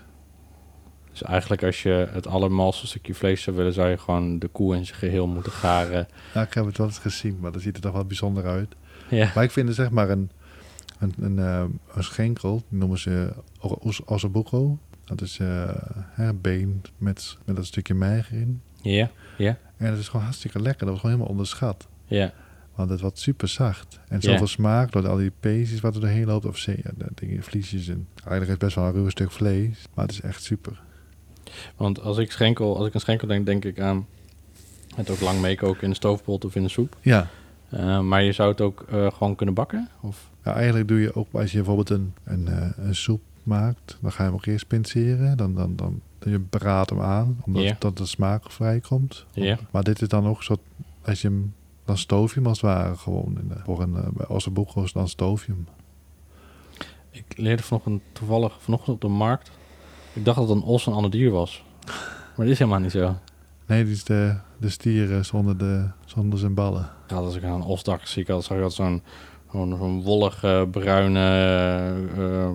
[SPEAKER 2] Dus eigenlijk als je het allermalste stukje vlees zou willen, zou je gewoon de koe in zijn geheel moeten garen.
[SPEAKER 3] Nou, ik heb het wel eens gezien, maar dat ziet er toch wel bijzonder uit.
[SPEAKER 2] Ja,
[SPEAKER 3] Maar ik vind het zeg maar een, een, een, eh, een schenkel, die noemen ze o- os- ossobuco. Dat is eh, hè, been met, met dat stukje merg in.
[SPEAKER 2] ja,
[SPEAKER 3] En het is gewoon hartstikke lekker, dat was gewoon helemaal onderschat.
[SPEAKER 2] ja.
[SPEAKER 3] Want het was super zacht. En
[SPEAKER 2] Ja.
[SPEAKER 3] zoveel smaak door al die peesjes wat er doorheen loopt. Of zee, ja, dat ding, vliesjes. En eigenlijk is het best wel een ruw stuk vlees. Maar het is echt super.
[SPEAKER 2] Want als ik, schenkel, als ik een schenkel denk, denk ik aan het ook lang meekoken in de stoofpot of in de soep.
[SPEAKER 3] Ja.
[SPEAKER 2] Eh, maar je zou het ook eh, gewoon kunnen bakken? Of?
[SPEAKER 3] Ja, Nou, eigenlijk doe je ook als je bijvoorbeeld een, een, eh, een soep maakt, dan ga je hem ook eerst pinceren. Dan, dan, dan, je braadt hem aan, omdat
[SPEAKER 2] Ja.
[SPEAKER 3] dat de smaak vrijkomt.
[SPEAKER 2] Ja.
[SPEAKER 3] Maar dit is dan ook zo, als je hem, dan stoof je hem als het ware gewoon. In de, voor een, eh, bij ossobuco's dan stoof je hem.
[SPEAKER 2] Ik leerde vanochtend toevallig vanochtend op de markt. Ik dacht dat een os een ander dier was. Maar dat is helemaal niet zo.
[SPEAKER 3] Nee, dit is de, de stieren zonder, de, zonder zijn ballen.
[SPEAKER 2] Ja, als ik aan een os dacht, zie ik al, zag ik dat zo'n zo'n zo'n wollige bruine eh,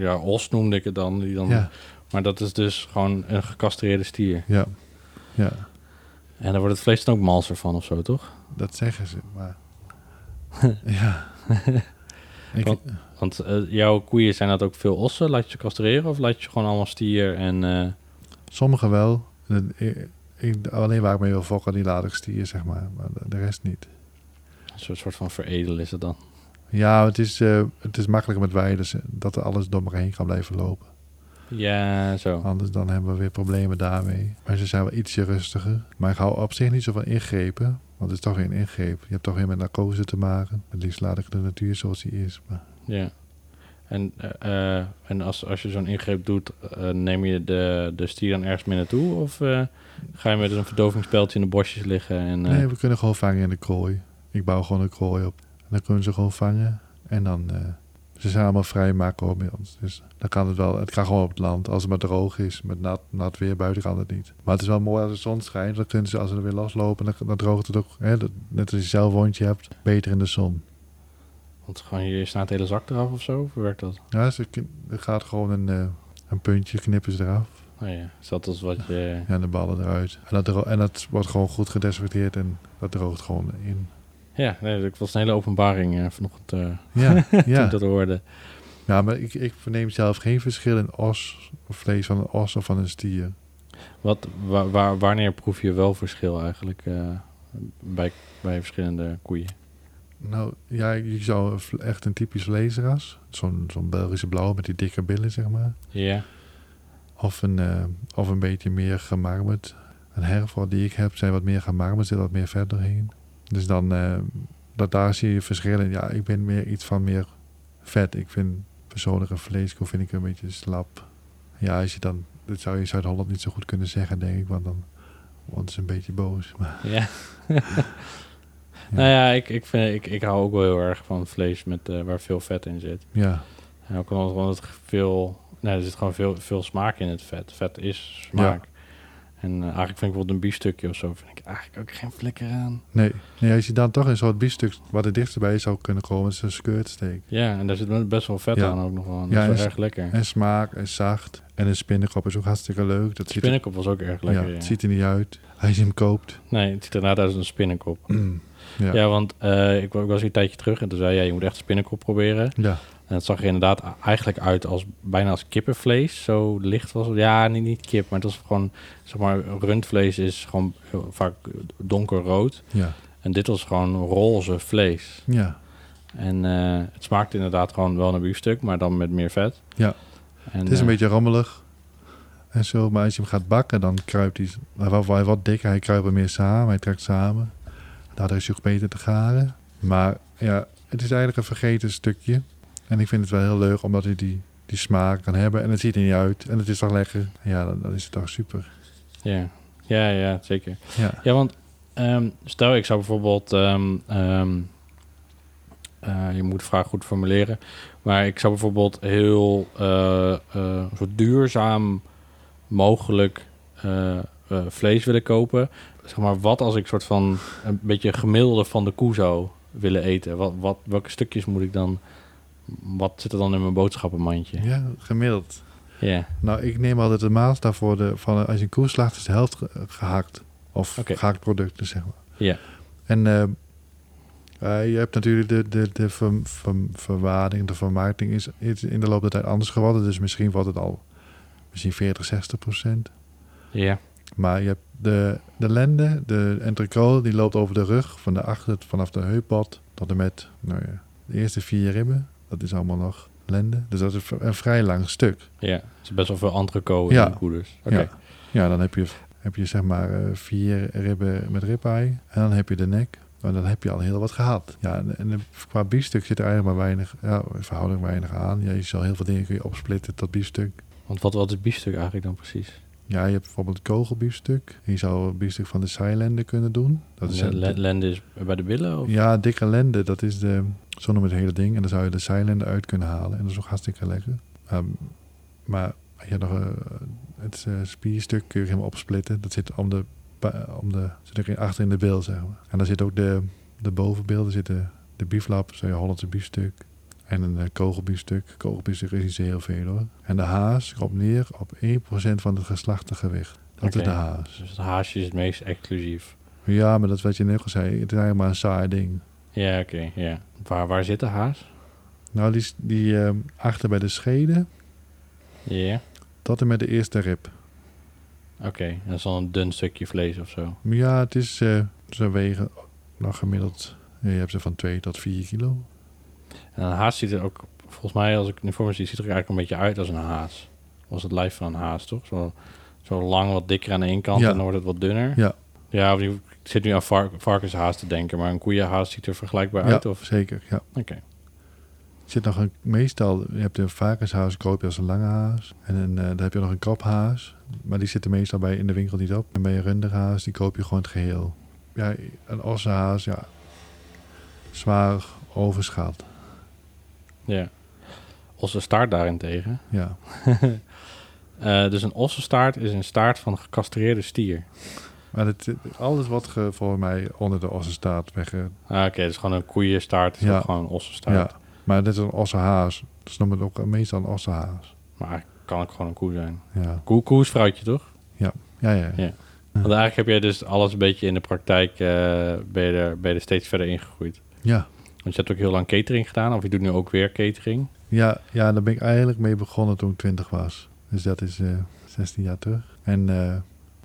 [SPEAKER 2] ja, os noemde ik het dan, die dan.
[SPEAKER 3] Ja,
[SPEAKER 2] Maar dat is dus gewoon een gecastreerde stier.
[SPEAKER 3] ja, ja,
[SPEAKER 2] En daar wordt het vlees dan ook malser van of zo, toch?
[SPEAKER 3] dat zeggen ze. Maar ja. Ik,
[SPEAKER 2] Want- Want eh, jouw koeien zijn dat ook veel ossen? Laat je ze castreren of laat je ze gewoon allemaal stier en... eh,
[SPEAKER 3] Sommigen wel. En ik- ik- alleen waar ik mee wil fokken, die laat ik stier, zeg maar. Maar de- de rest niet.
[SPEAKER 2] Een soort, soort van veredelen is het dan.
[SPEAKER 3] Ja, het is, eh, het is makkelijker met wij, dus eh, dat er alles door me heen kan blijven lopen.
[SPEAKER 2] Ja, zo.
[SPEAKER 3] Anders dan hebben we weer problemen daarmee. Maar ze zijn wel ietsje rustiger. Maar ik hou op zich niet zo van ingrepen, want het is toch weer een ingreep. Je hebt toch weer met narcose te maken. Het liefst laat ik de natuur zoals die is. Maar
[SPEAKER 2] Ja. En, eh, eh, en als, als je zo'n ingreep doet, eh, neem je de, de stier dan ergens mee naartoe? Of eh, ga je met een verdovingspeeltje in de bosjes liggen? En, eh,
[SPEAKER 3] nee, we kunnen gewoon vangen in de kooi. Ik bouw gewoon een kooi op. En dan kunnen ze gewoon vangen. En dan, eh, ze zijn allemaal vrij maken hoor bij ons. Dus dan kan het wel, het kan gewoon op het land. Als het maar droog is, met nat, nat weer buiten kan het niet. Maar het is wel mooi als de zon schijnt. Dan kunnen ze, als ze er weer loslopen, dan, dan droogt het ook. Hè, dat- net als je zelf wondje hebt, beter in de zon.
[SPEAKER 2] Want gewoon je snaat de hele zak eraf of zo? Hoe werkt dat?
[SPEAKER 3] Ja, ze, kn- er gaat gewoon een, eh, een puntje, knippen ze eraf.
[SPEAKER 2] Oh ja, dus dat is wat je...
[SPEAKER 3] En de ballen eruit. En dat, dro- en dat wordt gewoon goed gedesinfecteerd en dat droogt gewoon in.
[SPEAKER 2] Ja, nee, dat was een hele openbaring eh, vanochtend eh,
[SPEAKER 3] Ja,
[SPEAKER 2] toen
[SPEAKER 3] ja.
[SPEAKER 2] ik dat hoorde.
[SPEAKER 3] Ja, maar ik, ik verneem zelf geen verschil in os, of vlees van een os of van een stier.
[SPEAKER 2] Wat, wa- waar, wanneer proef je wel verschil eigenlijk eh, bij, bij verschillende koeien?
[SPEAKER 3] Nou, ja, je zou een vle- echt een typisch vleesras. Zo'n zo'n Belgische blauw met die dikke billen, zeg maar.
[SPEAKER 2] Ja,
[SPEAKER 3] Of een, eh, of een beetje meer gemarmerd. Een herval die ik heb, zijn wat meer gemarmerd, zit wat meer verder heen. Dus dan, eh, dat, daar zie je verschillen. Ja, ik ben meer iets van meer vet. Ik vind persoonlijke vleeskoe vind ik een beetje slap. Ja, als je dan, dat zou je in Zuid-Holland niet zo goed kunnen zeggen, denk ik, want dan worden ze een beetje boos. Maar
[SPEAKER 2] Ja. Nou ja, ik, ik, vind, ik, ik hou ook wel heel erg van vlees met, eh, waar veel vet in zit.
[SPEAKER 3] ja,
[SPEAKER 2] En ook omdat omdat het veel, nou, er zit gewoon veel, veel smaak in het vet. Vet is smaak. En eh, eigenlijk vind ik bijvoorbeeld een biefstukje of zo, vind ik eigenlijk ook geen flikker aan.
[SPEAKER 3] nee. nee, als je dan toch een soort biefstuk wat er dichterbij zou kunnen komen, is een steak.
[SPEAKER 2] Ja, en daar zit wel best wel vet
[SPEAKER 3] Ja.
[SPEAKER 2] aan ook nog wel. Dat
[SPEAKER 3] Ja,
[SPEAKER 2] is wel
[SPEAKER 3] en s-
[SPEAKER 2] erg lekker.
[SPEAKER 3] En smaak en zacht. En een spinnenkop is ook hartstikke leuk. Dat ziet er
[SPEAKER 2] Spinnenkop was ook erg lekker.
[SPEAKER 3] ja,
[SPEAKER 2] ja.
[SPEAKER 3] het ziet er niet uit. Als je hem koopt.
[SPEAKER 2] Nee, het ziet inderdaad uit als een spinnenkop.
[SPEAKER 3] ja.
[SPEAKER 2] Mm. Ja,
[SPEAKER 3] Ja.
[SPEAKER 2] want eh, ik, wa- ik was hier een tijdje terug en toen zei jij, je moet echt spinnenkop proberen. En het zag er inderdaad a- eigenlijk uit als bijna als kippenvlees. Zo licht was het. Ja, niet, niet kip, maar het was gewoon, zeg maar, rundvlees is gewoon heel vaak donkerrood.
[SPEAKER 3] ja,
[SPEAKER 2] En dit was gewoon roze vlees.
[SPEAKER 3] ja.
[SPEAKER 2] En eh, het smaakte inderdaad gewoon wel naar biefstuk, maar dan met meer vet.
[SPEAKER 3] Ja.
[SPEAKER 2] En,
[SPEAKER 3] Het is een
[SPEAKER 2] eh,
[SPEAKER 3] beetje rammelig. En zo, maar als je hem gaat bakken, dan kruipt hij... Hij wordt- hij wordt dikker, hij kruipt er meer samen, hij trekt samen. Daardoor is hij ook beter te garen. Maar ja, het is eigenlijk een vergeten stukje. En ik vind het wel heel leuk omdat hij die, die smaak kan hebben. En het ziet er niet uit. En het is toch lekker. Ja, dan, dan is het toch super.
[SPEAKER 2] Ja, ja, ja zeker.
[SPEAKER 3] Ja.
[SPEAKER 2] Ja, want ehm, stel ik zou bijvoorbeeld... ehm, ehm, eh, je moet de vraag goed formuleren. Maar ik zou bijvoorbeeld heel eh, eh, zo duurzaam mogelijk eh, eh, vlees willen kopen. Zeg maar, wat als ik soort van een beetje gemiddelde van de koe zou willen eten? Wat, wat, welke stukjes moet ik dan... Wat zit er dan in mijn boodschappenmandje? Ja.
[SPEAKER 3] ja, gemiddeld. Nou, ik neem altijd de maatstaf voor de, van eh, als je een koe slaagt, is de helft ge- gehakt. Of
[SPEAKER 2] Oké.
[SPEAKER 3] gehakt producten, zeg maar.
[SPEAKER 2] Ja.
[SPEAKER 3] En eh, eh, je hebt natuurlijk de, de, de ver, ver- verwaarding, de vermarkting is, is in de loop der tijd anders geworden. Dus misschien wordt het al misschien 40, 60 procent.
[SPEAKER 2] Ja.
[SPEAKER 3] Maar je hebt de, de lende, de entrecote, die loopt over de rug, van de achter, vanaf de heupbod tot en met nou ja, de eerste vier ribben. Dat is allemaal nog lende. Dus dat is een v- een vrij lang stuk.
[SPEAKER 2] Ja, het is best wel veel entreco
[SPEAKER 3] Ja.
[SPEAKER 2] in de koe dus. Oké.
[SPEAKER 3] Ja. Ja, dan heb je, heb je zeg maar eh, vier ribben met ribeye. En dan heb je de nek. En dan heb je al heel wat gehad. Ja, en, en qua biefstuk zit er eigenlijk maar weinig, ja, in verhouding weinig aan. Ja, je zal heel veel dingen kun je opsplitten tot biefstuk.
[SPEAKER 2] Want wat, wat is biefstuk eigenlijk dan precies?
[SPEAKER 3] Ja, je hebt bijvoorbeeld kogelbiefstuk. Je zou een biefstuk van de Seilende kunnen doen. Dat is
[SPEAKER 2] Le-
[SPEAKER 3] een-
[SPEAKER 2] le- lende is bij de billen? Of?
[SPEAKER 3] ja, dikke lende, dat is de, zo noemen we het hele ding. En dan zou je de zijlende uit kunnen halen. En dat is ook hartstikke lekker. Ehm, maar je hebt nog eh, het eh, spierstuk kun je helemaal opsplitten. Dat zit om de, pa- om de zit ook in- achter in de bil, zeg maar. En daar zit ook de, de bovenbeelden zitten de bieflap, zo je Hollandse biefstuk. En een eh, kogelbiefstuk. Kogelbiefstuk is niet zo heel veel hoor. En de haas komt neer op 1% van het geslachte gewicht. Dat is
[SPEAKER 2] Oké.
[SPEAKER 3] de haas.
[SPEAKER 2] Dus het haasje is het meest exclusief.
[SPEAKER 3] Ja, maar dat is wat je net al zei. Het is eigenlijk maar een saai ding.
[SPEAKER 2] Ja, oké. ja. Waar, waar zit de haas?
[SPEAKER 3] Nou, die, is- die ehm, achter bij de schede,
[SPEAKER 2] Ja.
[SPEAKER 3] tot en met de eerste rib.
[SPEAKER 2] Oké, dat is dan een dun stukje vlees of zo.
[SPEAKER 3] Maar ja, het is, eh ze wegen nou, gemiddeld, eh, je hebt ze van 2 tot 4 kilo.
[SPEAKER 2] En een haas ziet er ook, volgens mij, als ik nu voor me zie, ziet er eigenlijk een beetje uit als een haas. Als het lijf van een haas, toch? Zo, zo lang, wat dikker aan de ene kant
[SPEAKER 3] Ja.
[SPEAKER 2] en dan wordt het wat dunner.
[SPEAKER 3] Ja.
[SPEAKER 2] Ja, of ik zit nu aan vark- varkenshaas te denken, maar een koeienhaas ziet er vergelijkbaar uit?
[SPEAKER 3] ja,
[SPEAKER 2] Of?
[SPEAKER 3] zeker, ja.
[SPEAKER 2] Oké.
[SPEAKER 3] Er Zit nog een, meestal, je hebt een varkenshaas, koop je als een lange haas. En een, eh, dan heb je nog een kophaas, maar die zitten meestal bij, in de winkel niet op. En bij een runderhaas, die koop je gewoon het geheel. Ja, een ossenhaas, ja, zwaar overschat,
[SPEAKER 2] Ja. Onze staart daarentegen.
[SPEAKER 3] ja.
[SPEAKER 2] Eh, dus een ossenstaart is een staart van een gecastreerde stier.
[SPEAKER 3] Maar het, alles wat ge, voor mij onder de ossen staat, eh, wegge,
[SPEAKER 2] Ah, Oké, dus gewoon een koeienstaart is
[SPEAKER 3] Ja.
[SPEAKER 2] ook gewoon een ossenstaart.
[SPEAKER 3] Ja, maar dit is een ossenhaas. Dus noemen het ook meestal een ossenhaas.
[SPEAKER 2] Maar eigenlijk kan ook gewoon een koe zijn.
[SPEAKER 3] Ja,
[SPEAKER 2] Koe, koe is vrouwtje, toch?
[SPEAKER 3] ja, ja.
[SPEAKER 2] Ja. Want eigenlijk heb jij dus alles een beetje in de praktijk... eh ben, je er, ben je er steeds verder ingegroeid.
[SPEAKER 3] Ja,
[SPEAKER 2] Want je hebt ook heel lang catering gedaan... of je doet nu ook weer catering.
[SPEAKER 3] ja, ja daar ben ik eigenlijk mee begonnen toen ik 20 was. Dus dat is eh 16 jaar terug. En eh,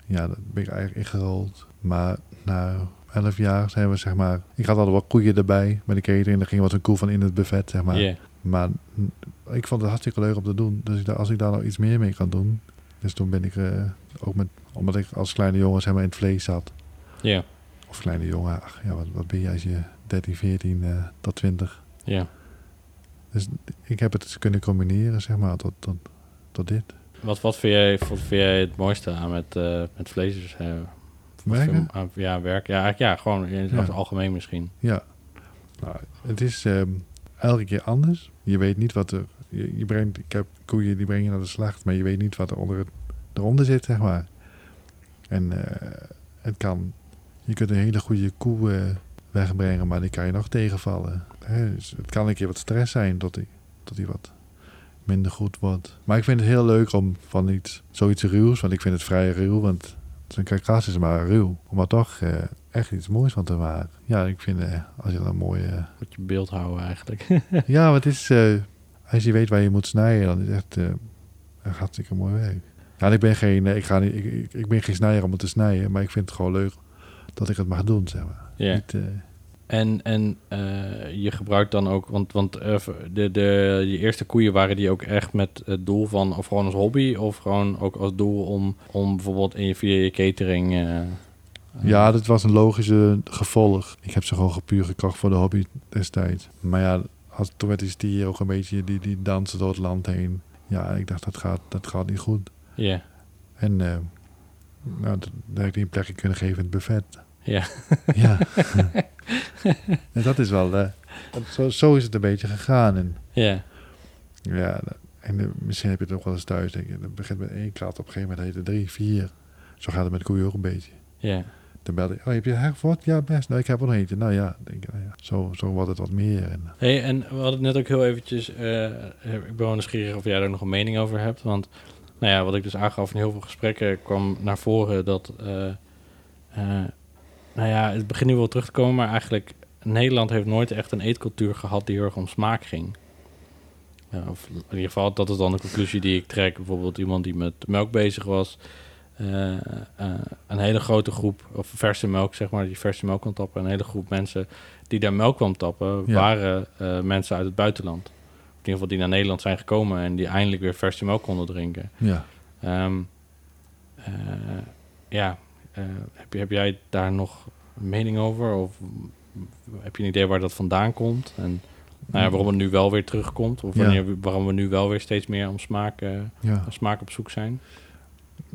[SPEAKER 3] ja, daar ben ik eigenlijk ingerold. Maar na 11 jaar zijn we zeg maar... Ik had altijd wat koeien erbij bij de catering. Daar ging wat een koe van in het buffet, zeg maar.
[SPEAKER 2] Ja.
[SPEAKER 3] Maar mm, ik vond het hartstikke leuk om te doen. Dus ik dacht, als ik daar nou iets meer mee kan doen... Dus toen ben ik eh, ook met... Omdat ik als kleine jongen zeg maar in het vlees zat...
[SPEAKER 2] ja,
[SPEAKER 3] Of kleine jongen, ach, ja, wat, wat ben je als je 13, 14 eh, tot 20?
[SPEAKER 2] ja.
[SPEAKER 3] Ik heb het kunnen combineren, zeg maar, tot, tot, tot dit.
[SPEAKER 2] Wat, wat, vind jij, wat vind jij het mooiste aan met, eh met vlees? eh, wat
[SPEAKER 3] Merken?
[SPEAKER 2] vind- aan- ja, werk. Ja, eigenlijk, ja gewoon in het
[SPEAKER 3] Ja.
[SPEAKER 2] algemeen misschien.
[SPEAKER 3] Ja. Nou, het is ehm, elke keer anders. Je weet niet wat er... Je, je brengt, ik heb koeien die breng je naar de slacht, maar je weet niet wat er onder het, eronder zit, zeg maar. En eh, het kan... Je kunt een hele goede koe eh, wegbrengen, maar die kan je nog tegenvallen. Hè, dus het kan een keer wat stress zijn tot die, tot die wat minder goed wordt. Maar ik vind het heel leuk om van iets, zoiets ruws, want ik vind het vrij ruw, want zijn karkas is maar ruw. Om er toch eh, echt iets moois van te maken. Ja, ik vind eh, als je dan een mooie...
[SPEAKER 2] Moet je beeld houden eigenlijk.
[SPEAKER 3] ja, want het is... eh, als je weet waar je moet snijden, dan is het echt eh, een hartstikke mooi werk. Ja, en ik ben geen, eh, ik, ga niet, ik, ik, ik ben geen snijder om het te snijden, maar ik vind het gewoon leuk dat ik het mag doen, zeg maar.
[SPEAKER 2] Ja.
[SPEAKER 3] Niet, eh,
[SPEAKER 2] En, en eh, je gebruikt dan ook, want, want eh, de, de, je eerste koeien waren die ook echt met het doel van, of gewoon als hobby, of gewoon ook als doel om, om bijvoorbeeld in je, via je catering eh,
[SPEAKER 3] Ja, dat was een logische gevolg. Ik heb ze gewoon gepuur gekocht voor de hobby destijds. Maar ja, als, toen werd die stier ook een beetje, die, die dansen door het land heen. Ja, ik dacht, dat gaat, dat gaat niet goed.
[SPEAKER 2] Ja.
[SPEAKER 3] En eh nou, dat, dat heb ik die een plekje kunnen geven in het buffet.
[SPEAKER 2] Ja.
[SPEAKER 3] Ja. en dat is wel, eh, dat- zo, zo is het een beetje gegaan. En
[SPEAKER 2] Ja.
[SPEAKER 3] ja, dat- en eh, misschien heb je het ook wel eens thuis. Denk je, dat begint met één kat, op een gegeven moment heet het drie, vier. Zo gaat het met koeien ook een beetje.
[SPEAKER 2] Ja.
[SPEAKER 3] Dan belde ik, oh, heb je herford? Ja, best. Nou, ik heb er nog eentje. Nou ja, denk, ik, nou ja. Zo, zo wordt het wat meer. En, eh,
[SPEAKER 2] Hey, en we hadden het net ook heel eventjes... eh, ik ben wel nieuwsgierig of jij daar nog een mening over hebt. Want nou ja, wat ik dus aangaf in heel veel gesprekken kwam naar voren dat... eh, eh, nou ja, het begint nu wel terug te komen, maar eigenlijk... Nederland heeft nooit echt een eetcultuur gehad die heel erg om smaak ging. Ja, of in ieder geval, dat is dan de conclusie die ik trek. Bijvoorbeeld iemand die met melk bezig was. eh, eh, een hele grote groep, of verse melk zeg maar, die verse melk kan tappen. Een hele groep mensen die daar melk kwam tappen,
[SPEAKER 3] Ja.
[SPEAKER 2] waren eh, mensen uit het buitenland. Of in ieder geval die naar Nederland zijn gekomen en die eindelijk weer verse melk konden drinken.
[SPEAKER 3] ja.
[SPEAKER 2] Ehm, eh, ja, eh, heb, je- heb jij daar nog een mening over? Of heb je een idee waar dat vandaan komt? En nou ja, waarom het nu wel weer terugkomt? Of
[SPEAKER 3] Ja.
[SPEAKER 2] wanneer, we- waarom we nu wel weer steeds meer om smaak, eh,
[SPEAKER 3] ja.
[SPEAKER 2] om smaak op zoek zijn?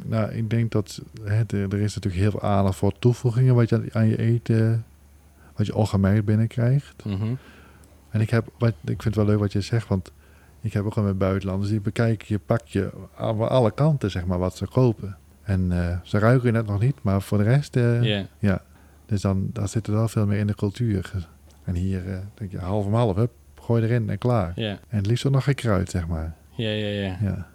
[SPEAKER 3] Nou, ik denk dat hè, de- er is natuurlijk heel veel aandacht voor toevoegingen wat je aan- aan je eten, wat je algemeen binnenkrijgt.
[SPEAKER 2] Mhm.
[SPEAKER 3] En ik, heb, wat, ik vind het wel leuk wat je zegt, want ik heb ook al met buitenlanders, die bekijken je pakje aan alle kanten, zeg maar, wat ze kopen. En eh, ze ruiken je net nog niet, maar voor de rest, eh,
[SPEAKER 2] Ja,
[SPEAKER 3] dus dan daar zit er wel veel meer in de cultuur. En hier eh, denk je half om half, hup, gooi erin en klaar.
[SPEAKER 2] ja,
[SPEAKER 3] En het liefst ook nog geen kruid, zeg maar.
[SPEAKER 2] ja, ja, ja.
[SPEAKER 3] Ja.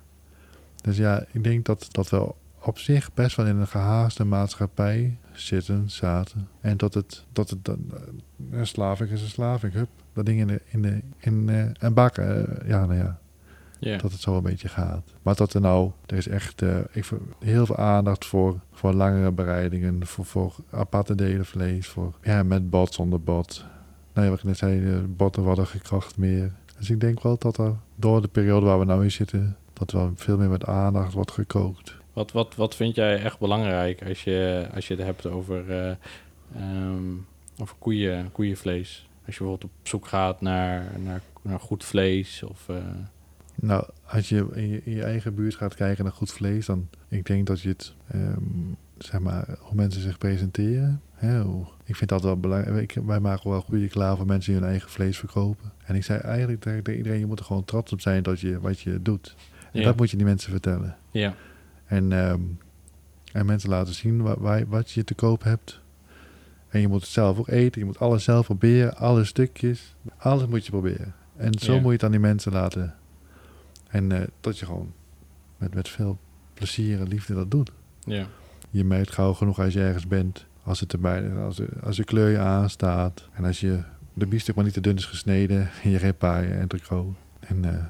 [SPEAKER 3] Dus ja, ik denk dat dat wel op zich best wel in een gehaaste maatschappij zitten, zaten. En dat het, dat het dan, eh, een slavik is een slavik, hup. Dat ding in de, in de, in eh, een bak, eh, ja, nou ja,
[SPEAKER 2] ja.
[SPEAKER 3] dat het zo een beetje gaat. Maar dat er nou, er is echt eh, ik vind heel veel aandacht voor, voor langere bereidingen, voor, voor aparte delen vlees, voor, ja, met bot, zonder bot. Nou ja, wat ik net zei, de botten worden gekracht meer. Dus ik denk wel dat er door de periode waar we nou in zitten, dat wel veel meer met aandacht wordt gekookt.
[SPEAKER 2] Wat, wat, wat vind jij echt belangrijk als je, als je het hebt over, eh, ehm, over koeien, koeienvlees? Als je bijvoorbeeld op zoek gaat naar, naar, naar goed vlees of... eh,
[SPEAKER 3] Nou, als je in je, in je eigen buurt gaat kijken naar goed vlees, dan ik denk dat je het, ehm, zeg maar, hoe mensen zich presenteren. Hè, hoe, ik vind dat wel belangrijk. Ik- wij maken wel goede klaar voor mensen die hun eigen vlees verkopen. En ik zei eigenlijk tegen tegen iedereen, je moet er gewoon trots op zijn dat je wat je doet. En
[SPEAKER 2] ja.
[SPEAKER 3] dat moet je die mensen vertellen.
[SPEAKER 2] Ja,
[SPEAKER 3] En, ehm, en mensen laten zien wa- waar, wat je te koop hebt. En je moet het zelf ook eten. Je moet alles zelf proberen. Alle stukjes. Alles moet je proberen. En zo
[SPEAKER 2] Ja.
[SPEAKER 3] moet je het aan die mensen laten. En eh, dat je gewoon met, met veel plezier en liefde dat doet.
[SPEAKER 2] ja,
[SPEAKER 3] Je merkt gauw genoeg als je ergens bent. Als, het erbij, als, de, als de kleur je aanstaat. En als je de biefstuk maar niet te dun is gesneden. En je repaaien en tricot. En eh,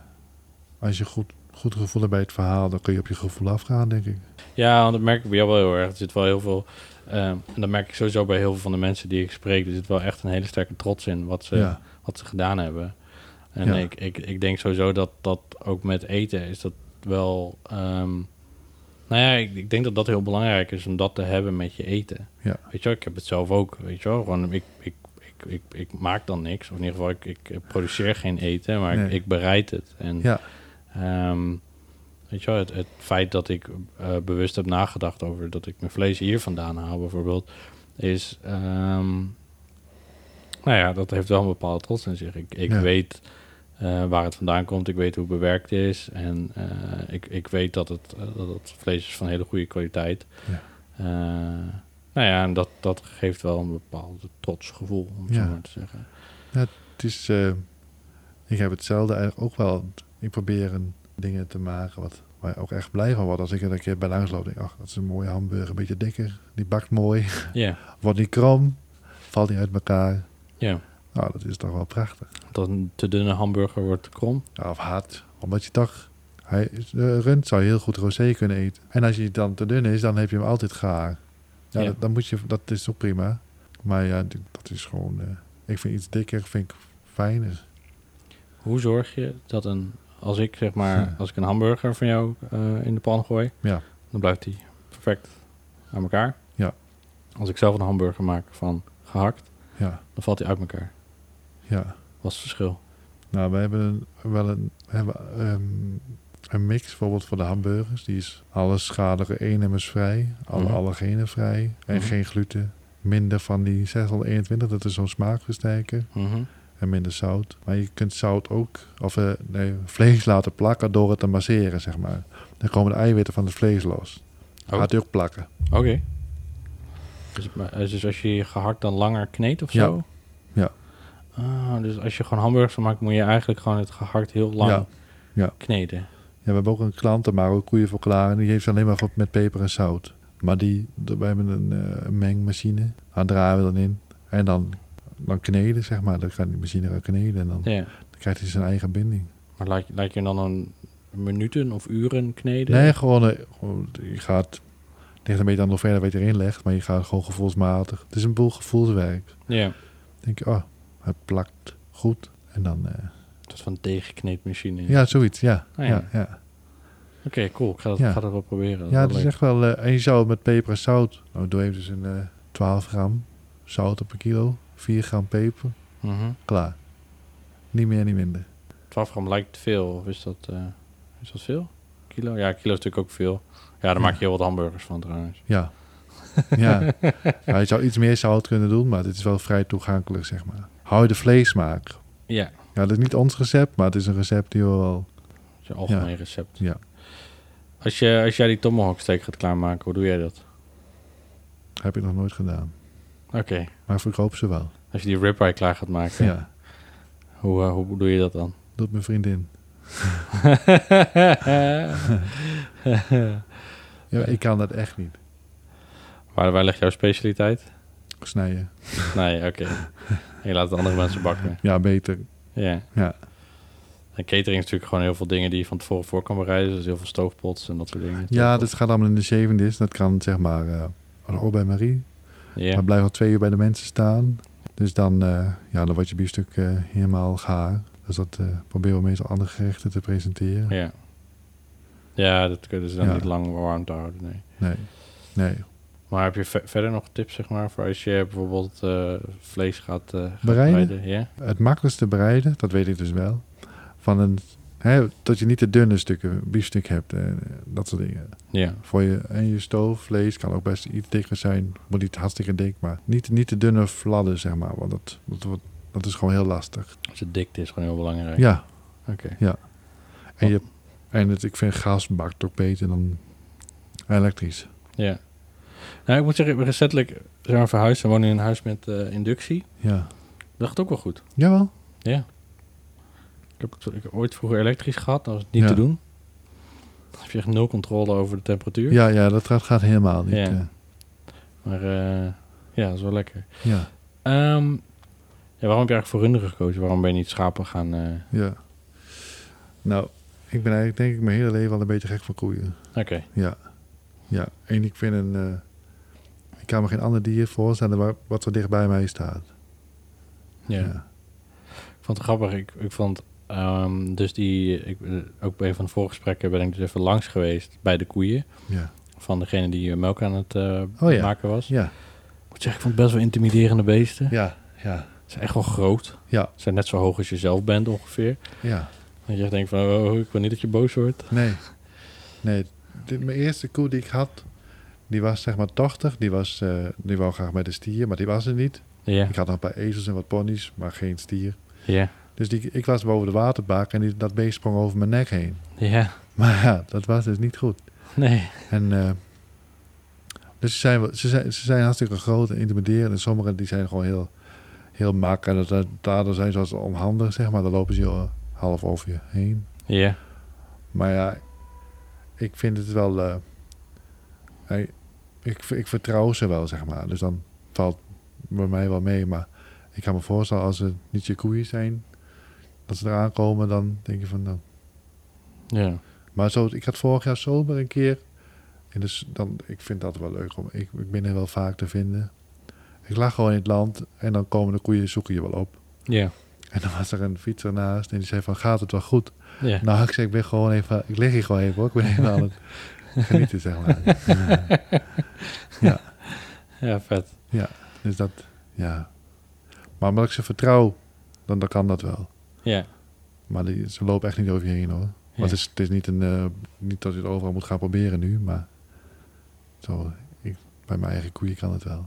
[SPEAKER 3] als je goed, goed gevoel hebt bij het verhaal. Dan kun je op je gevoel afgaan denk ik.
[SPEAKER 2] ja, want dat merk ik bij jou wel heel erg. Er zit wel heel veel, ehm, en dat merk ik sowieso bij heel veel van de mensen die ik spreek. Er zit wel echt een hele sterke trots in wat ze,
[SPEAKER 3] Ja.
[SPEAKER 2] wat ze gedaan hebben. En
[SPEAKER 3] Ja.
[SPEAKER 2] ik, ik, ik denk sowieso dat dat ook met eten is dat wel. ehm, nou ja, ik, ik denk dat dat heel belangrijk is om dat te hebben met je eten.
[SPEAKER 3] Ja.
[SPEAKER 2] Weet je, wel, ik heb het zelf ook. Weet je, wel, gewoon ik, ik, ik, ik, ik maak dan niks. Of in ieder geval, ik, ik produceer geen eten, maar ik,
[SPEAKER 3] Nee.
[SPEAKER 2] ik bereid het. En
[SPEAKER 3] Ja.
[SPEAKER 2] ehm, weet je, wel, het, het feit dat ik eh, bewust heb nagedacht over dat ik mijn vlees hier vandaan haal, bijvoorbeeld, is. ehm, nou ja, dat heeft wel een bepaalde trots in zich. Ik, ik
[SPEAKER 3] Ja.
[SPEAKER 2] weet eh, waar het vandaan komt. Ik weet hoe het bewerkt is. En eh, ik, ik weet dat het, eh, dat het vlees is van hele goede kwaliteit.
[SPEAKER 3] Ja.
[SPEAKER 2] Eh, nou ja, en dat, dat geeft wel een bepaald trots gevoel, om het
[SPEAKER 3] Ja.
[SPEAKER 2] zo maar te zeggen.
[SPEAKER 3] Het is, eh, ik heb hetzelfde eigenlijk ook wel. Ik probeer een- dingen te maken wat, waar ik ook echt blij van word. Als ik er een keer bij langs loop, denk ik, ach, dat is een mooie hamburger, een beetje dikker. Die bakt mooi,
[SPEAKER 2] Ja,
[SPEAKER 3] wordt niet krom, valt niet uit elkaar.
[SPEAKER 2] ja.
[SPEAKER 3] Nou, dat is toch wel prachtig.
[SPEAKER 2] Dat een te dunne hamburger wordt te krom.
[SPEAKER 3] Ja, of hard, omdat je toch... Hij, de rund zou heel goed rosé kunnen eten. En als hij dan te dun is, dan heb je hem altijd gaar. Ja,
[SPEAKER 2] Ja.
[SPEAKER 3] Dat, dan moet je, dat is ook prima. Maar ja, d- dat is gewoon... eh, ik vind iets dikker, vind ik fijner.
[SPEAKER 2] Hoe zorg je dat een... Als ik zeg maar, als ik een hamburger van jou eh, in de pan gooi,
[SPEAKER 3] Ja.
[SPEAKER 2] dan blijft die perfect aan elkaar.
[SPEAKER 3] Ja.
[SPEAKER 2] Als ik zelf een hamburger maak van gehakt,
[SPEAKER 3] Ja,
[SPEAKER 2] dan valt die uit elkaar.
[SPEAKER 3] ja.
[SPEAKER 2] Wat is het verschil?
[SPEAKER 3] Nou, we hebben een- wel een, we hebben, ehm, een mix bijvoorbeeld voor de hamburgers. Die is alle schadige enemes vrij, alle
[SPEAKER 2] Mhm.
[SPEAKER 3] allergenen vrij en
[SPEAKER 2] Mhm.
[SPEAKER 3] geen gluten. Minder van die 621, dat is zo'n smaakversterker.
[SPEAKER 2] Mhm.
[SPEAKER 3] En minder zout. Maar je kunt zout ook, of eh, nee, vlees laten plakken door het te masseren, zeg maar. Dan komen de eiwitten van het vlees los.
[SPEAKER 2] Oh.
[SPEAKER 3] Gaat hij ook plakken.
[SPEAKER 2] Oké. Dus, maar- dus als je je gehakt dan langer kneedt of
[SPEAKER 3] Ja.
[SPEAKER 2] zo?
[SPEAKER 3] Ja.
[SPEAKER 2] Ah, dus als je gewoon hamburgers van maakt, moet je eigenlijk gewoon het gehakt heel lang
[SPEAKER 3] Ja. Ja.
[SPEAKER 2] kneden.
[SPEAKER 3] Ja, we hebben ook een klant, daar maken we koeien voor klaar. En die heeft alleen maar voor- met peper en zout. Maar die, d- wij hebben een eh, een mengmachine. Daar draaien we dan in. En dan, dan kneden, zeg maar. Dan gaat die machine gaan kneden. En dan,
[SPEAKER 2] Ja.
[SPEAKER 3] dan krijgt hij zijn eigen binding.
[SPEAKER 2] Maar laat, je- laat je dan een minuten of uren kneden?
[SPEAKER 3] Nee, gewoon, eh, gewoon, je gaat... Het ligt een beetje aan hoe ver je erin legt. Maar je gaat gewoon gevoelsmatig. Het is een boel gevoelswerk.
[SPEAKER 2] Ja.
[SPEAKER 3] Dan denk je, oh, het plakt goed. En dan... eh,
[SPEAKER 2] Dat is van deeggekneedmachine.
[SPEAKER 3] ja, zoiets, ja.
[SPEAKER 2] Ah, ja.
[SPEAKER 3] ja, ja.
[SPEAKER 2] Oké, cool. Ik ga dat,
[SPEAKER 3] Ja.
[SPEAKER 2] ga dat wel proberen. Dat
[SPEAKER 3] Ja,
[SPEAKER 2] wel
[SPEAKER 3] het is
[SPEAKER 2] leuk.
[SPEAKER 3] echt wel... eh, en je zou het met peper en zout... Nou, doe even dus een eh 12 gram zout op een kilo. 4 gram peper.
[SPEAKER 2] Mhm.
[SPEAKER 3] Klaar. Niet meer, niet minder.
[SPEAKER 2] 12 gram lijkt veel. Of is dat, eh, is dat veel? Kilo? Ja, kilo is natuurlijk ook veel. Ja, daar maak je heel wat hamburgers van trouwens.
[SPEAKER 3] Ja. ja. ja. Je zou iets meer zout kunnen doen, maar dit is wel vrij toegankelijk, zeg maar. Hou je de vleesmaak.
[SPEAKER 2] Ja.
[SPEAKER 3] Ja, dat is niet ons recept, maar het is een recept die we wel...
[SPEAKER 2] Dat is een algemeen recept.
[SPEAKER 3] Ja.
[SPEAKER 2] Als, je, als jij die tomahawk steak gaat klaarmaken, hoe doe jij dat?
[SPEAKER 3] Heb ik nog nooit gedaan.
[SPEAKER 2] Oké.
[SPEAKER 3] Maar ik verkoop ze wel.
[SPEAKER 2] Als je die ribeye klaar gaat maken,
[SPEAKER 3] Ja.
[SPEAKER 2] hoe, eh, hoe doe je dat dan?
[SPEAKER 3] Doet mijn vriendin. Ja, ik kan dat echt niet.
[SPEAKER 2] waar, waar ligt jouw specialiteit?
[SPEAKER 3] Snijden.
[SPEAKER 2] Nee, oké. Je laat het andere mensen bakken.
[SPEAKER 3] Ja, beter.
[SPEAKER 2] Ja.
[SPEAKER 3] Ja.
[SPEAKER 2] En catering is natuurlijk gewoon heel veel dingen die je van tevoren voor kan bereiden. Dus heel veel stoofpots en dat soort dingen.
[SPEAKER 3] Ja, dat gaat allemaal in de zevende is. Dat kan, zeg maar... eh Robert en Marie,
[SPEAKER 2] Ja.
[SPEAKER 3] Maar blijf al twee uur bij de mensen staan. Dus dan, eh, ja, dan wordt je biefstuk eh, helemaal gaar. Dus dat eh, proberen we meestal andere gerechten te presenteren.
[SPEAKER 2] ja. Ja, dat kunnen ze dan
[SPEAKER 3] Ja.
[SPEAKER 2] niet lang warm te houden, nee.
[SPEAKER 3] Nee, nee.
[SPEAKER 2] Maar heb je ve- verder nog tips, zeg maar, voor als je bijvoorbeeld eh, vlees gaat, eh gaat
[SPEAKER 3] Bereiden?
[SPEAKER 2] Ja?
[SPEAKER 3] Het makkelijkste bereiden, dat weet ik dus wel, van een, hè, dat je niet de dunne stukken biefstuk hebt. En dat soort dingen.
[SPEAKER 2] Ja.
[SPEAKER 3] Voor je, en je stoofvlees kan ook best iets dikker zijn. Moet niet hartstikke dik, maar niet, niet de dunne fladden, zeg maar. Want dat, dat, wordt- dat is gewoon heel lastig.
[SPEAKER 2] Als het dikte is gewoon heel belangrijk.
[SPEAKER 3] Ja,
[SPEAKER 2] Oké.
[SPEAKER 3] en, je, en het, ik vind gas bakt ook beter dan elektrisch.
[SPEAKER 2] Ja. Nou, ik moet zeggen, recentelijk zijn we verhuisd. We wonen in een huis met eh, inductie.
[SPEAKER 3] Ja.
[SPEAKER 2] Dat gaat ook wel goed.
[SPEAKER 3] Jawel.
[SPEAKER 2] Ik heb, ik heb ooit vroeger elektrisch gehad. Dat was niet
[SPEAKER 3] Ja.
[SPEAKER 2] te doen. Dan heb je echt nul controle over de temperatuur.
[SPEAKER 3] Ja, ja dat gaat, gaat helemaal niet.
[SPEAKER 2] Ja.
[SPEAKER 3] eh.
[SPEAKER 2] Maar eh, ja, dat is wel lekker.
[SPEAKER 3] ja,
[SPEAKER 2] Ehm, ja, waarom heb je eigenlijk voor runderen gekozen? Waarom ben je niet schapen gaan... eh,
[SPEAKER 3] ja. Nou, ik ben eigenlijk denk ik mijn hele leven al een beetje gek van koeien.
[SPEAKER 2] Oké.
[SPEAKER 3] Ja. Ja, en ik vind een... eh, ik kan me geen ander dier voorstellen waar, wat zo dicht bij mij staat.
[SPEAKER 2] Ja. Ik vond het grappig. Ik, ik vond... ehm, dus die... Ik, eh, ook bij een van de voorgesprekken ben ik dus even langs geweest bij de koeien.
[SPEAKER 3] Ja.
[SPEAKER 2] Van degene die eh, melk aan het eh,
[SPEAKER 3] Oh ja.
[SPEAKER 2] maken was.
[SPEAKER 3] Ja,
[SPEAKER 2] Ik moet zeggen, ik vond het best wel intimiderende beesten.
[SPEAKER 3] ja, ja,
[SPEAKER 2] Ze zijn echt wel groot.
[SPEAKER 3] Ja.
[SPEAKER 2] Ze zijn net zo hoog als je zelf bent ongeveer.
[SPEAKER 3] ja.
[SPEAKER 2] Dat je echt denkt van, oh, ik wil niet dat je boos wordt.
[SPEAKER 3] Nee, nee. De, mijn eerste koe die ik had, die was zeg maar 80. Die, was, eh, die wou graag met een stier, maar die was er niet.
[SPEAKER 2] Ja,
[SPEAKER 3] Ik had nog een paar ezels en wat ponies, maar geen stier.
[SPEAKER 2] ja,
[SPEAKER 3] Dus die, ik was boven de waterbaak en die, dat beest sprong over mijn nek heen.
[SPEAKER 2] ja.
[SPEAKER 3] Maar ja, dat was dus niet goed.
[SPEAKER 2] Nee.
[SPEAKER 3] En, eh, dus ze zijn, wel- ze, zijn, ze zijn hartstikke groot en intimiderend. En sommigen die zijn gewoon heel, heel mak. En dat- daardoor zijn ze als onhandig, zeg maar. Dan lopen ze je half over je heen.
[SPEAKER 2] Ja,
[SPEAKER 3] Maar ja, ik vind het wel... eh, hij- ik, ik vertrouw ze wel, zeg maar. Dus dan valt bij mij wel mee. Maar ik kan me voorstellen, als ze niet je koeien zijn... dat ze eraan komen, dan denk je van... nou,
[SPEAKER 2] ja.
[SPEAKER 3] maar zo, ik had vorig jaar zomer een keer. En dus dan, ik vind dat wel leuk. Om, ik, ik ben er wel vaak te vinden. Ik lag gewoon in het land en dan komen de koeien zoeken je wel op.
[SPEAKER 2] Ja,
[SPEAKER 3] En dan was er een fietser naast en die zei van, gaat het wel goed?
[SPEAKER 2] ja.
[SPEAKER 3] Nou, ik zei, ik ben gewoon even, ik lig hier gewoon even hoor. Ik ben even aan het genieten, zeg maar. Ja.
[SPEAKER 2] Ja, vet.
[SPEAKER 3] Dus dat, ja. Maar omdat ik ze vertrouw, dan, dan kan dat wel.
[SPEAKER 2] Ja.
[SPEAKER 3] Maar die, ze lopen echt niet over je heen hoor.
[SPEAKER 2] Ja.
[SPEAKER 3] Maar het, is, het is niet, een, eh, niet dat je het overal moet gaan proberen nu, maar zo, ik, bij mijn eigen koeien kan het wel.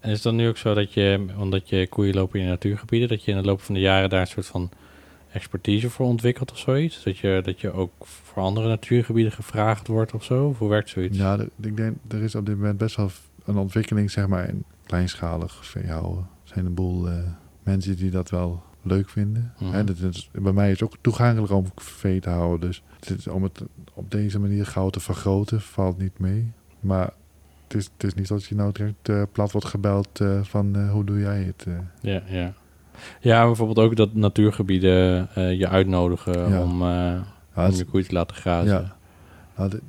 [SPEAKER 2] En is het dan nu ook zo dat je, omdat je koeien lopen in natuurgebieden, dat je in de loop van de jaren daar een soort van expertise voor ontwikkelt of zoiets? Dat je, dat je ook voor andere natuurgebieden gevraagd wordt of zo? Of hoe werkt zoiets?
[SPEAKER 3] Ja, de- Nou, ik denk, er is op dit moment best wel f- een ontwikkeling, zeg maar, in kleinschalig veehouden. Er zijn een boel eh, mensen die dat wel leuk vinden.
[SPEAKER 2] Mhm.
[SPEAKER 3] Hè, dat is, bij mij is het ook toegankelijk om vee te houden. Dus het is- om het op deze manier gauw te vergroten, valt niet mee. Maar het is, het is niet dat je nou direct eh, plat wordt gebeld eh, van eh, hoe doe jij het? eh.
[SPEAKER 2] Ja, ja. Ja, bijvoorbeeld ook dat natuurgebieden eh, je uitnodigen
[SPEAKER 3] Ja.
[SPEAKER 2] om, eh,
[SPEAKER 3] Ja,
[SPEAKER 2] om
[SPEAKER 3] het-
[SPEAKER 2] je koeien te laten grazen.
[SPEAKER 3] ja. Nou, de-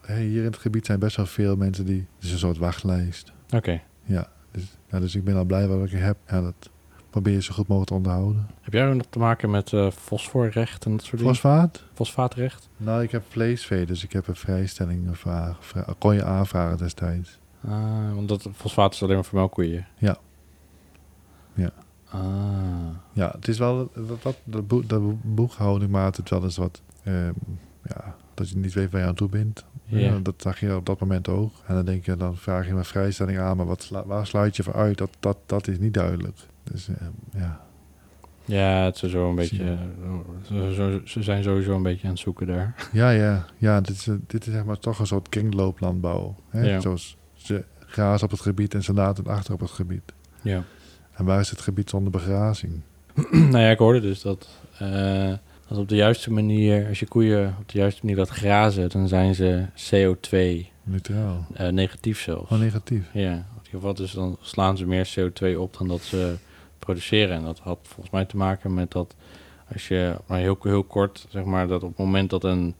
[SPEAKER 3] hè, hier in het gebied zijn best wel veel mensen die... Het is een soort wachtlijst.
[SPEAKER 2] Oké,
[SPEAKER 3] Dus, ja, dus ik ben al blij wat ik heb. Ja, dat probeer je zo goed mogelijk te onderhouden.
[SPEAKER 2] heb jij ook nog te maken met eh, fosforrecht en dat soort dingen?
[SPEAKER 3] Fosfaat?
[SPEAKER 2] Fosfaatrecht?
[SPEAKER 3] Nou, ik heb vleesvee, dus ik heb een vrijstelling vraag, vra- kon je aanvragen destijds.
[SPEAKER 2] Ah, want dat fosfaat is alleen maar voor melkkoeien.
[SPEAKER 3] Ja. Ja.
[SPEAKER 2] Ah.
[SPEAKER 3] Ja, het is wel dat, dat, dat, boe- dat boe- boekhouding maakt het wel eens wat. ehm, ja, dat je niet weet waar je aan toe bent.
[SPEAKER 2] Ja.
[SPEAKER 3] Ja, dat zag je op dat moment ook. En dan denk je, dan vraag je mijn vrijstelling aan, maar wat sla- waar sluit je voor uit? Dat, dat, dat is niet duidelijk. Dus ehm, ja.
[SPEAKER 2] Ja, het is sowieso een
[SPEAKER 3] Zie
[SPEAKER 2] beetje. Ze, ze- ze zijn sowieso een beetje aan het zoeken daar.
[SPEAKER 3] Ja, ja, ja. Dit is, eh, dit is zeg maar toch een soort kringlooplandbouw. Hè?
[SPEAKER 2] Ja.
[SPEAKER 3] Zoals ze grazen op het gebied en ze laten het achter op het gebied.
[SPEAKER 2] Ja.
[SPEAKER 3] En waar is het gebied zonder begrazing?
[SPEAKER 2] nou ja, ik hoorde dus dat, eh, dat op de juiste manier, als je koeien op de juiste manier laat grazen, dan zijn ze CO2
[SPEAKER 3] Neutraal.
[SPEAKER 2] eh, negatief zelfs.
[SPEAKER 3] Oh, negatief.
[SPEAKER 2] Ja, in ieder geval dus dan slaan ze meer CO2 op dan dat ze produceren. En dat had volgens mij te maken met dat als je, maar heel, heel kort, zeg maar, dat op het moment dat een,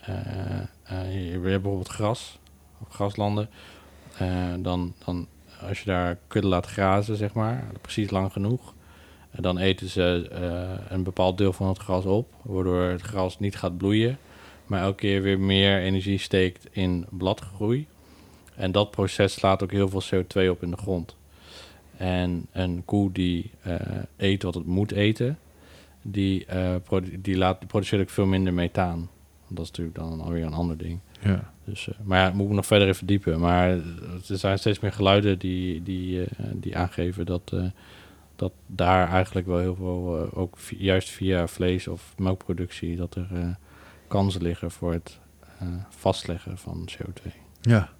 [SPEAKER 2] eh, eh, je je hebt bijvoorbeeld gras, of graslanden, eh, dan, dan als je daar kudde laat grazen, zeg maar, precies lang genoeg, eh, dan eten ze eh, een bepaald deel van het gras op, waardoor het gras niet gaat bloeien, maar elke keer weer meer energie steekt in bladgroei. En dat proces slaat ook heel veel CO2 op in de grond. En een koe die eh, eet wat het moet eten, die, eh, produ- die, laat, die produceert ook veel minder methaan. Dat is natuurlijk dan alweer een ander ding.
[SPEAKER 3] Ja.
[SPEAKER 2] Dus, eh, maar ja, moet ik me nog verder in verdiepen. Maar er zijn steeds meer geluiden die, die, eh, die aangeven dat, eh, dat daar eigenlijk wel heel veel, eh, ook vi- juist via vlees- of melkproductie, dat er eh, kansen liggen voor het eh, vastleggen van CO2.
[SPEAKER 3] Ja,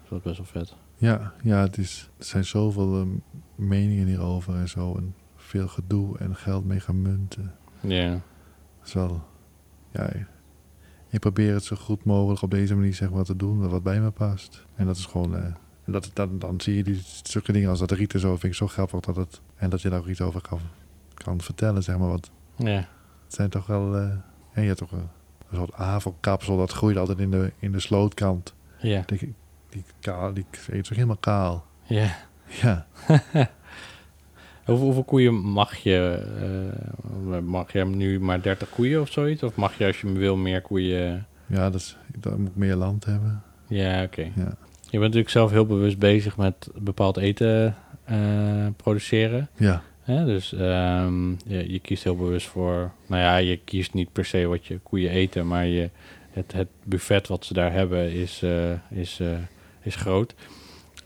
[SPEAKER 2] Dus dat is best wel vet.
[SPEAKER 3] ja, ja het is, er zijn zoveel ehm, meningen hierover en zo. En veel gedoe en geld mee gemunten.
[SPEAKER 2] Ja,
[SPEAKER 3] Het is wel, ja, ik probeer het zo goed mogelijk op deze manier zeg maar, te doen wat- wat bij me past. En dat is gewoon, eh, en dat, dan, dan zie je die zulke dingen als dat riet en zo, vind ik zo grappig. Dat het, en dat je daar ook iets over kan, kan vertellen, zeg maar. Want
[SPEAKER 2] ja,
[SPEAKER 3] het zijn toch wel, eh, en je hebt toch een, een soort avelkapsel, dat groeit altijd in de, in de slootkant.
[SPEAKER 2] ja,
[SPEAKER 3] Die, die, kaal, die eet toch helemaal kaal?
[SPEAKER 2] ja.
[SPEAKER 3] Ja.
[SPEAKER 2] Hoeveel, hoeveel koeien mag je? eh, mag je nu maar 30 koeien of zoiets? Of mag je als je wil meer koeien?
[SPEAKER 3] Ja, dat is, dan moet ik meer land hebben.
[SPEAKER 2] Ja, oké.
[SPEAKER 3] Ja.
[SPEAKER 2] Je bent natuurlijk zelf heel bewust bezig met bepaald eten eh, produceren.
[SPEAKER 3] Ja,
[SPEAKER 2] Hè? Dus ehm, je, je kiest heel bewust voor... Nou ja, je kiest niet per se wat je koeien eten... maar je, het, het buffet wat ze daar hebben is, eh, is, eh, is groot.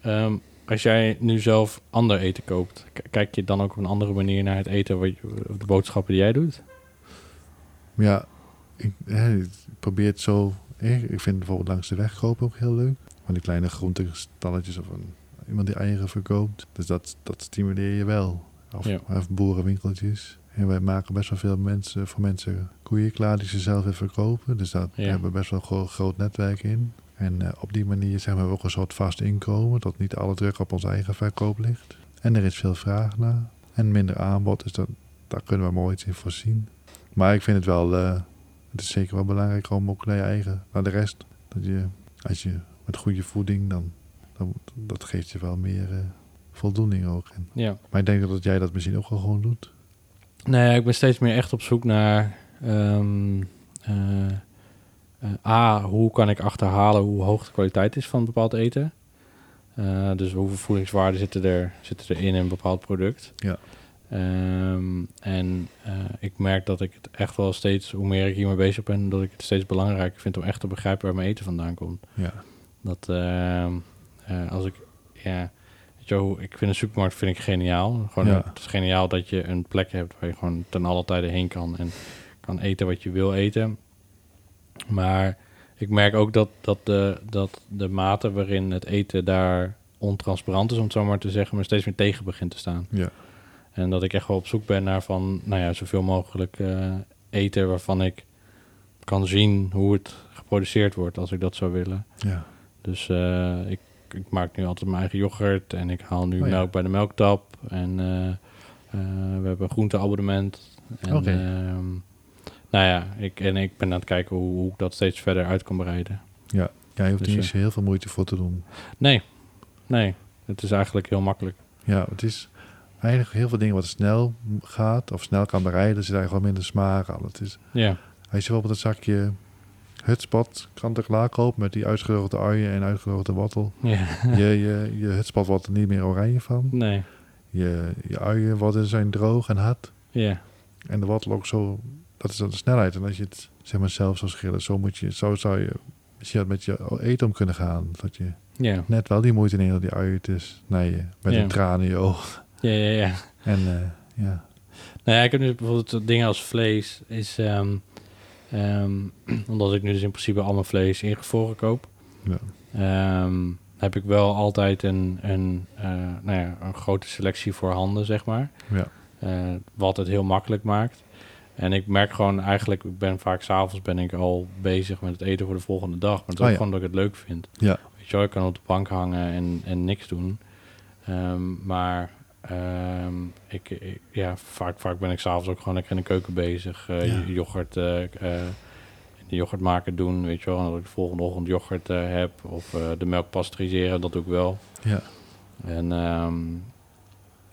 [SPEAKER 2] Ehm, als jij nu zelf ander eten koopt... k- kijk je dan ook op een andere manier naar het eten... Wat je, of de boodschappen die jij doet?
[SPEAKER 3] Maar ja ik, hè, ik probeer het zo. Ik, ik vind bijvoorbeeld langs de weg kopen ook heel leuk. Van die kleine groentestalletjes of een, iemand die eieren verkoopt. Dus dat, dat stimuleer je wel. Of,
[SPEAKER 2] Ja.
[SPEAKER 3] of boerenwinkeltjes. En wij maken best wel veel mensen, voor mensen koeien klaar die ze zelf weer verkopen. Dus daar
[SPEAKER 2] Ja.
[SPEAKER 3] hebben we best wel een gro- groot netwerk in. En eh, op die manier zijn we ook een soort vast inkomen. Dat niet alle druk op ons eigen verkoop ligt. En er is veel vraag naar. En minder aanbod. Dus dat, daar kunnen we mooi iets in voorzien. Maar ik vind het wel... eh, het is zeker wel belangrijk om ook naar je eigen... Naar de rest. Dat je, als je met goede voeding... Dan, dan, dat geeft je wel meer eh, voldoening ook. En,
[SPEAKER 2] Ja.
[SPEAKER 3] maar ik denk dat jij dat misschien ook wel gewoon doet.
[SPEAKER 2] Nee, ik ben steeds meer echt op zoek naar... ehm, eh, eh, A, hoe kan ik achterhalen hoe hoog de kwaliteit is van bepaald eten? Eh, dus hoeveel voedingswaarden zitten er, zitten er in een bepaald product.
[SPEAKER 3] Ja.
[SPEAKER 2] Ehm, en eh, ik merk dat ik het echt wel steeds, hoe meer ik hiermee bezig ben, dat ik het steeds belangrijker vind om echt te begrijpen waar mijn eten vandaan komt.
[SPEAKER 3] Ja.
[SPEAKER 2] Dat ehm, eh, als ik, ja, weet je wel, hoe- ik vind een supermarkt vind ik geniaal. Gewoon,
[SPEAKER 3] Ja.
[SPEAKER 2] Het is geniaal dat je een plek hebt waar je gewoon ten alle tijden heen kan en kan eten wat je wil eten. Maar ik merk ook dat, dat, de, dat de mate waarin het eten daar ontransparant is, om het zo maar te zeggen, maar steeds meer tegen begint te staan.
[SPEAKER 3] Ja.
[SPEAKER 2] En dat ik echt wel op zoek ben naar van, nou ja, zoveel mogelijk eh, eten waarvan ik kan zien hoe het geproduceerd wordt, als ik dat zou willen.
[SPEAKER 3] Ja.
[SPEAKER 2] Dus eh, ik, ik maak nu altijd mijn eigen yoghurt en ik haal nu
[SPEAKER 3] Oh ja.
[SPEAKER 2] melk bij de melktap. En eh, eh, we hebben een groenteabonnement. En,
[SPEAKER 3] Oké.
[SPEAKER 2] ehm, nou ja, ik, en ik ben aan het kijken hoe, hoe ik dat steeds verder uit kan breiden.
[SPEAKER 3] Ja, je hoeft
[SPEAKER 2] Dus,
[SPEAKER 3] er niet
[SPEAKER 2] eh,
[SPEAKER 3] zo heel veel moeite voor te doen.
[SPEAKER 2] Nee, nee, het is eigenlijk heel makkelijk.
[SPEAKER 3] Ja, het is eigenlijk heel veel dingen wat snel gaat of snel kan bereiden, zit eigenlijk gewoon minder smaak aan. Het is,
[SPEAKER 2] Ja,
[SPEAKER 3] als je bijvoorbeeld een zakje hutspot kant-en-klaar koopt met die uitgedroogde uien en uitgedroogde wattel.
[SPEAKER 2] ja.
[SPEAKER 3] Je, je, je hutspot wordt er niet meer oranje van.
[SPEAKER 2] nee,
[SPEAKER 3] Je, je uien worden zijn droog en hard.
[SPEAKER 2] ja,
[SPEAKER 3] En de wattel ook zo, dat is dan de snelheid. En als je het zeg maar zelf zou schillen, zo, moet je, zo zou je misschien met je eten om kunnen gaan. Dat je
[SPEAKER 2] ja,
[SPEAKER 3] net wel die moeite neemt om die uien te snijden. Met
[SPEAKER 2] Ja.
[SPEAKER 3] een traan in je oog.
[SPEAKER 2] ja, ja. ja.
[SPEAKER 3] En eh, ja,
[SPEAKER 2] Nou ja, ik heb nu bijvoorbeeld dingen als vlees. Is, ehm, ehm, omdat ik nu dus in principe al mijn vlees ingevroren koop.
[SPEAKER 3] Ja.
[SPEAKER 2] ehm, heb ik wel altijd een, een, eh, nou ja, een grote selectie voor handen, zeg maar.
[SPEAKER 3] Ja.
[SPEAKER 2] Eh, wat het heel makkelijk maakt. En ik merk gewoon eigenlijk, ik ben vaak s'avonds ben ik al bezig met het eten voor de volgende dag. Maar het is
[SPEAKER 3] Oh
[SPEAKER 2] ook
[SPEAKER 3] ja.
[SPEAKER 2] gewoon dat ik het leuk vind.
[SPEAKER 3] Ja.
[SPEAKER 2] Weet je wel, ik kan op de bank hangen en, en niks doen. Ehm, maar ehm, ik, ik- ja, vaak, vaak ben ik s'avonds ook gewoon lekker in de keuken bezig. Eh,
[SPEAKER 3] Ja.
[SPEAKER 2] j- yoghurt, eh eh, de yoghurt maken doen, weet je wel. En dat ik de volgende ochtend yoghurt eh, heb. Of eh, de melk pasteuriseren, dat doe ik wel.
[SPEAKER 3] Ja.
[SPEAKER 2] En, ehm,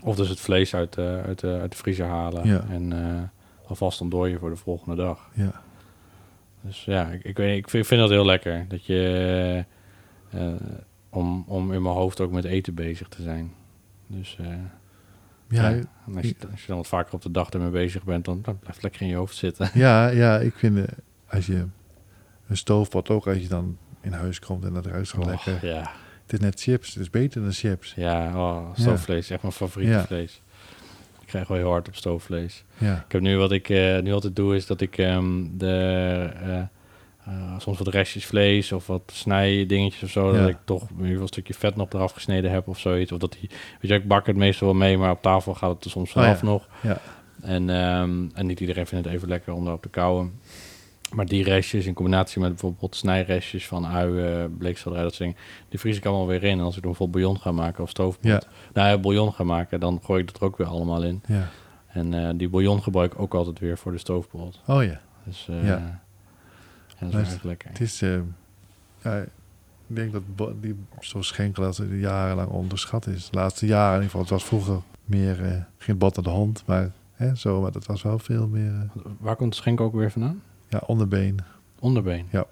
[SPEAKER 2] of dus het vlees uit, de uit, de uit de vriezer halen.
[SPEAKER 3] Ja.
[SPEAKER 2] En eh alvast ontdooien voor de volgende dag.
[SPEAKER 3] ja,
[SPEAKER 2] Dus ja, ik, ik, weet, niet, ik, vind, ik vind dat heel lekker. Dat je. eh, om, om in mijn hoofd ook met eten bezig te zijn. Dus. eh,
[SPEAKER 3] ja, ja.
[SPEAKER 2] en als, je, als je dan wat vaker op de dag ermee bezig bent, dan blijft het lekker in je hoofd zitten.
[SPEAKER 3] Ja, ja, ik vind eh, als je een stoofpot ook, als je dan in huis komt en dat ruikt gewoon
[SPEAKER 2] Och,
[SPEAKER 3] Oh, lekker.
[SPEAKER 2] Oh, ja,
[SPEAKER 3] Het is net chips, het is beter dan chips.
[SPEAKER 2] ja oh, stoofvlees, echt mijn favoriete
[SPEAKER 3] Ja.
[SPEAKER 2] vlees. Ik krijg wel heel hard op stoofvlees.
[SPEAKER 3] Ja,
[SPEAKER 2] Ik heb nu wat ik eh, nu altijd doe, is dat ik ehm, de, eh, eh, soms wat restjes vlees of wat snijdingetjes of zo,
[SPEAKER 3] Ja.
[SPEAKER 2] dat ik toch in ieder geval een stukje vet nog eraf gesneden heb of zoiets. Of dat die, weet je, ik bak het meestal wel mee, maar op tafel gaat het er soms
[SPEAKER 3] Oh,
[SPEAKER 2] vanaf
[SPEAKER 3] ja.
[SPEAKER 2] nog.
[SPEAKER 3] Ja.
[SPEAKER 2] En, ehm, en niet iedereen vindt het even lekker om daarop te kauwen. Maar die restjes in combinatie met bijvoorbeeld snijrestjes van uien, bleekselderij, dat soort dingen, die vries ik allemaal weer in. En als ik dan bijvoorbeeld bouillon ga maken of stoofpot,
[SPEAKER 3] Ja.
[SPEAKER 2] nou ja, bouillon ga maken, dan gooi ik dat er ook weer allemaal in.
[SPEAKER 3] ja.
[SPEAKER 2] En eh, die bouillon gebruik ik ook altijd weer voor de stoofpot.
[SPEAKER 3] Oh ja,
[SPEAKER 2] Dus eh,
[SPEAKER 3] Ja.
[SPEAKER 2] ja. dat is
[SPEAKER 3] Luister,
[SPEAKER 2] erg lekker.
[SPEAKER 3] het is... eh, ja, ik denk dat bo- die zo'n schenkel dat het jarenlang onderschat is. De laatste jaren in ieder geval. Het was vroeger meer eh, geen bot aan de hand, maar, hè, zo, maar dat was wel veel meer eh,
[SPEAKER 2] Waar komt de schenk ook weer vandaan?
[SPEAKER 3] ja, onderbeen.
[SPEAKER 2] Onderbeen.
[SPEAKER 3] Ja.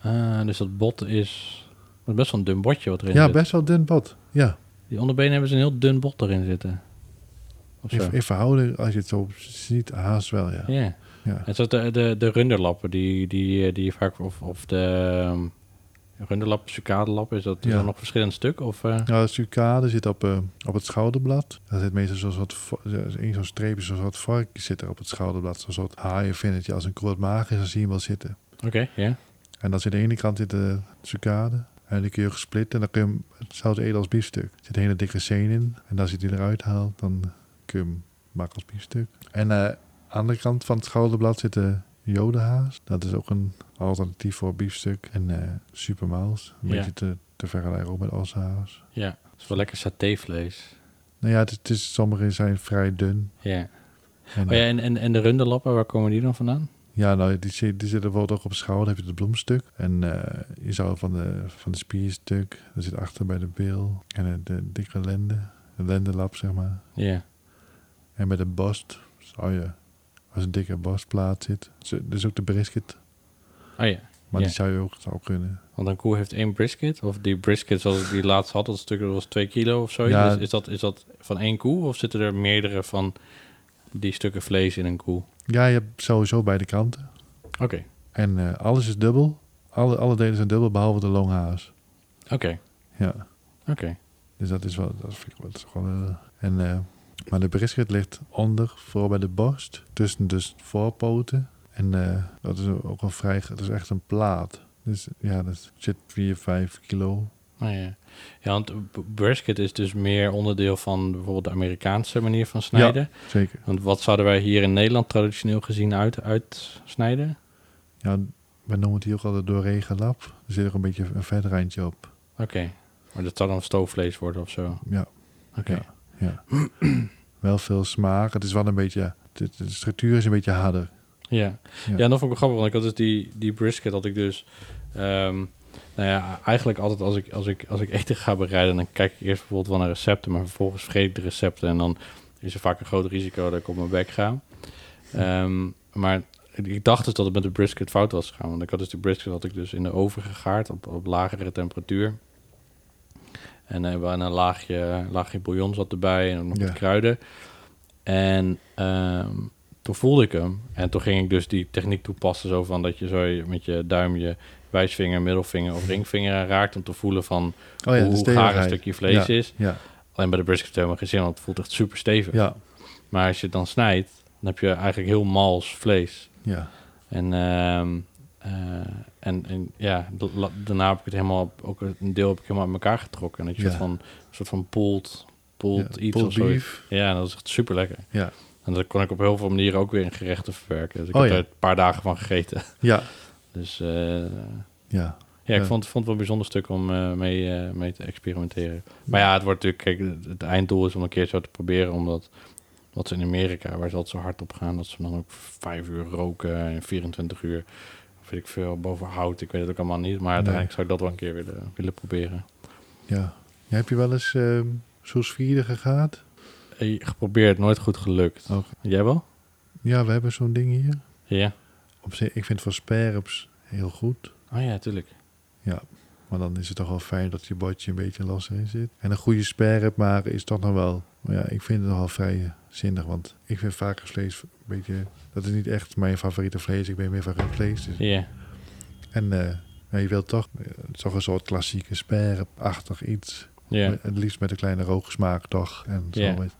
[SPEAKER 2] Ah, dus dat bot is dat is best wel een dun botje wat erin
[SPEAKER 3] Ja,
[SPEAKER 2] zit.
[SPEAKER 3] best wel dun bot. Ja,
[SPEAKER 2] Die onderbeen hebben ze een heel dun bot erin zitten. Of zo.
[SPEAKER 3] in, in verhouding, als je het zo ziet, haast wel, ja.
[SPEAKER 2] Ja.
[SPEAKER 3] Ja.
[SPEAKER 2] En zo de, de, de runderlappen die, die, eh, die je vaak... Of, of de ehm, runderlap, sucadelap, is dat is
[SPEAKER 3] Ja.
[SPEAKER 2] dat nog verschillend stuk? Of, eh,
[SPEAKER 3] Nou, de sucade zit op, eh, op het schouderblad. Daar zit meestal zo'n soort, va- eh, in zo'n streepje, zo'n soort varkje zit er op het schouderblad. Zo'n soort haaienvinnetje. Als een kroot maag is, dan zie je hem wel zitten.
[SPEAKER 2] Oké, ja.
[SPEAKER 3] En dan zit aan de ene kant zit de sucade. En die kun je gesplitten en dan kun je hem hetzelfde eten als biefstuk. Er zit een hele dikke seen in. En als je die eruit haalt, dan kun je hem maken als biefstuk. En eh, aan de kant van het schouderblad zit de jodenhaas. Dat is ook een alternatief voor biefstuk. En eh supermaals. Een
[SPEAKER 2] Ja.
[SPEAKER 3] beetje te, te vergelijken ook met ossehaas.
[SPEAKER 2] Ja. Het is wel lekker satévlees.
[SPEAKER 3] Nou ja, het, het is, sommige zijn vrij dun.
[SPEAKER 2] Ja.
[SPEAKER 3] En,
[SPEAKER 2] Oh ja, en, en, en de runderlappen, waar komen die dan vandaan?
[SPEAKER 3] Ja, nou, die, zit- die zitten bijvoorbeeld ook op schouder. heb je het bloemstuk. En eh, je zou van de, van de spierstuk, dat zit achter bij de bil. En eh, de dikke lende, de lendenlap zeg maar.
[SPEAKER 2] Ja.
[SPEAKER 3] En bij de borst zou je, als een dikke borstplaat zit. Dus, dus ook de brisket.
[SPEAKER 2] Oh ja.
[SPEAKER 3] Maar
[SPEAKER 2] Ja.
[SPEAKER 3] die zou je ook, zou ook kunnen.
[SPEAKER 2] Want een koe heeft één brisket. Of die brisket zoals ik die laatst had, dat stuk dat was twee kilo of zo.
[SPEAKER 3] Ja.
[SPEAKER 2] Dus is, dat, is dat van één koe? Of zitten er meerdere van die stukken vlees in een koe?
[SPEAKER 3] Ja, je hebt sowieso beide kanten.
[SPEAKER 2] Oké,
[SPEAKER 3] En eh, alles is dubbel. Alle, alle delen zijn dubbel, behalve de longhaas.
[SPEAKER 2] oké,
[SPEAKER 3] Ja,
[SPEAKER 2] oké.
[SPEAKER 3] dus dat is wel... Dat vind ik wel... dat is gewoon, eh, en, eh, maar de brisket ligt onder, voor bij de borst. Tussen dus voorpoten. En eh, dat is ook wel vrij... Het is echt een plaat. Dus ja, dat zit 4, 5 kilo.
[SPEAKER 2] Oh, ja. ja, want b- brisket is dus meer onderdeel van bijvoorbeeld de Amerikaanse manier van snijden.
[SPEAKER 3] Zeker.
[SPEAKER 2] Want wat zouden wij hier in Nederland traditioneel gezien uit, uitsnijden?
[SPEAKER 3] Ja, we noemen het hier ook altijd door regenlap. Er zit ook een beetje een vet randje op.
[SPEAKER 2] Oké, maar dat zou dan stoofvlees worden of zo.
[SPEAKER 3] Ja.
[SPEAKER 2] Oké,
[SPEAKER 3] Ja. wel veel smaak. Het is wel een beetje. De, de structuur is een beetje harder.
[SPEAKER 2] Ja.
[SPEAKER 3] Ja.
[SPEAKER 2] Ja. en dat vond ik wel grappig, want ik had dus die, die brisket had ik dus... ehm, nou ja, eigenlijk altijd als ik, als, ik, als ik eten ga bereiden... dan kijk ik eerst bijvoorbeeld wel naar recepten... maar vervolgens vergeet ik de recepten... en dan is er vaak een groot risico dat ik op mijn bek ga. Ehm, maar ik dacht dus dat het met de brisket fout was gegaan... want ik had dus die brisket had ik dus in de oven gegaard... op, op lagere temperatuur. En eh, wel een laagje, laagje bouillon zat erbij... en ook nog
[SPEAKER 3] Ja.
[SPEAKER 2] wat kruiden. En... ehm, toen voelde ik hem. En toen ging ik dus die techniek toepassen. Zo van dat je zo je- met je duim je wijsvinger, middelvinger of ringvinger aan raakt. Om te voelen van
[SPEAKER 3] Oh ja, de
[SPEAKER 2] hoe gaar een
[SPEAKER 3] stevigheid.
[SPEAKER 2] stukje vlees is.
[SPEAKER 3] Ja,
[SPEAKER 2] Alleen bij de brisket heb je helemaal geen zin, want het voelt echt super stevig.
[SPEAKER 3] ja,
[SPEAKER 2] Maar als je het dan snijdt, dan heb je eigenlijk heel mals vlees.
[SPEAKER 3] ja.
[SPEAKER 2] En, ehm, eh, en, en ja, da- la- daarna heb ik het helemaal, op- ook een deel heb ik helemaal uit elkaar getrokken. En dat je
[SPEAKER 3] Ja.
[SPEAKER 2] soort van, soort van pulled, pulled
[SPEAKER 3] ja.
[SPEAKER 2] iets
[SPEAKER 3] pulled
[SPEAKER 2] of zoiets.
[SPEAKER 3] beef.
[SPEAKER 2] Ja, dat is echt super lekker.
[SPEAKER 3] Ja.
[SPEAKER 2] En dat kon ik op heel veel manieren ook weer in gerechten verwerken. Dus ik
[SPEAKER 3] Oh,
[SPEAKER 2] heb
[SPEAKER 3] ja.
[SPEAKER 2] er een paar dagen van gegeten.
[SPEAKER 3] Ja,
[SPEAKER 2] Dus eh,
[SPEAKER 3] ja.
[SPEAKER 2] ja, ik
[SPEAKER 3] Ja.
[SPEAKER 2] Vond, vond het wel een bijzonder stuk om eh, mee, eh, mee te experimenteren. Maar ja, het wordt natuurlijk, kijk, het- het einddoel is om een keer zo te proberen, omdat wat ze in Amerika, waar ze altijd zo hard op gaan, dat ze dan ook vijf uur roken en 24 uur, of weet ik veel, boven hout. Ik weet het ook allemaal niet, maar uiteindelijk zou ik dat wel een keer willen, willen proberen.
[SPEAKER 3] ja. Ja, heb je wel eens ehm sous vide gegaat?
[SPEAKER 2] Eh, Geprobeerd, nooit goed gelukt.
[SPEAKER 3] Oké.
[SPEAKER 2] Jij wel?
[SPEAKER 3] Ja, we hebben zo'n ding hier.
[SPEAKER 2] Ja.
[SPEAKER 3] Op zich, ik vind van sperps heel goed.
[SPEAKER 2] Oh ja, tuurlijk.
[SPEAKER 3] Maar dan is het toch wel fijn dat je bordje een beetje los in zit. En een goede sperp maar is toch nog wel... Maar ja, ik vind het nogal vrij eh, zinnig. Want ik vind varkensvlees een beetje... Dat is niet echt mijn favoriete vlees. Ik ben meer van rood vlees. Dus
[SPEAKER 2] Ja.
[SPEAKER 3] En eh, ja, je wilt toch, eh, toch een soort klassieke sperp-achtig iets.
[SPEAKER 2] Ja.
[SPEAKER 3] Met- Het liefst met een kleine roge smaak toch. En zo
[SPEAKER 2] Ja.
[SPEAKER 3] met-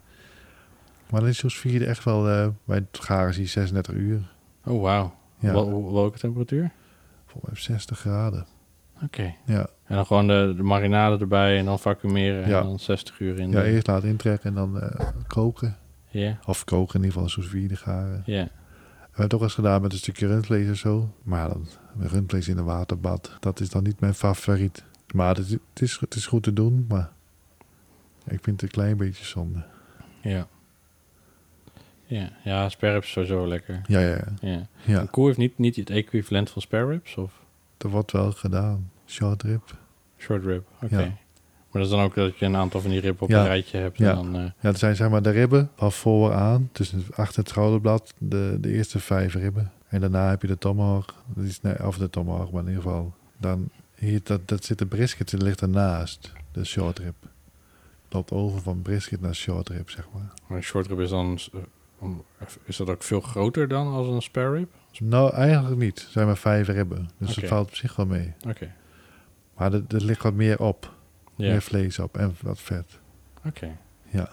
[SPEAKER 3] Maar dan is zo'n vierde echt wel, eh, bij het garen zie je 36 uur.
[SPEAKER 2] Oh, wauw.
[SPEAKER 3] Ja,
[SPEAKER 2] Wel- wel- welke temperatuur?
[SPEAKER 3] volgens mij op 60 graden.
[SPEAKER 2] Oké.
[SPEAKER 3] Ja.
[SPEAKER 2] En dan gewoon de, de marinade erbij en dan vacuumeren
[SPEAKER 3] Ja.
[SPEAKER 2] en dan 60 uur in.
[SPEAKER 3] ja,
[SPEAKER 2] de-
[SPEAKER 3] eerst laten intrekken en dan eh, koken.
[SPEAKER 2] ja.
[SPEAKER 3] Of koken in ieder geval, zo'n vierde garen.
[SPEAKER 2] Ja.
[SPEAKER 3] We hebben het ook eens gedaan met een stukje rundvlees of zo. Maar dan met rundvlees in een waterbad, dat is dan niet mijn favoriet. Maar het is, het is, het is goed te doen, maar ik vind het een klein beetje zonde.
[SPEAKER 2] Ja. Ja. Ja, sperrips sowieso lekker.
[SPEAKER 3] Ja, ja, ja.
[SPEAKER 2] Ja.
[SPEAKER 3] ja.
[SPEAKER 2] Een koe heeft niet, niet het equivalent van sperrips of
[SPEAKER 3] Er wordt wel gedaan. Short rib.
[SPEAKER 2] short rib. Oké.
[SPEAKER 3] Ja.
[SPEAKER 2] Maar dat is dan ook dat je een aantal van die ribben op
[SPEAKER 3] Ja.
[SPEAKER 2] een rijtje hebt.
[SPEAKER 3] Ja.
[SPEAKER 2] En dan, eh,
[SPEAKER 3] Ja, er zijn zeg maar de ribben van vooraan, tussen het achter het schouderblad, de, de eerste vijf ribben. En daarna heb je de tomahawk, dat is, nee, of de tomahawk, maar in ieder geval. Dan hier, dat, dat zit de brisket, die ligt ernaast, de short rib. Loopt over van brisket naar short rib, zeg maar.
[SPEAKER 2] maar een short rib is dan... eh, om- Is dat ook veel groter dan als een sperrip?
[SPEAKER 3] Nou, eigenlijk niet. Er zijn maar vijf ribben, dus
[SPEAKER 2] Oké.
[SPEAKER 3] dat valt op zich wel mee.
[SPEAKER 2] Oké.
[SPEAKER 3] Maar er, er ligt wat meer op,
[SPEAKER 2] Ja.
[SPEAKER 3] meer vlees op en wat vet.
[SPEAKER 2] Oké.
[SPEAKER 3] Ja.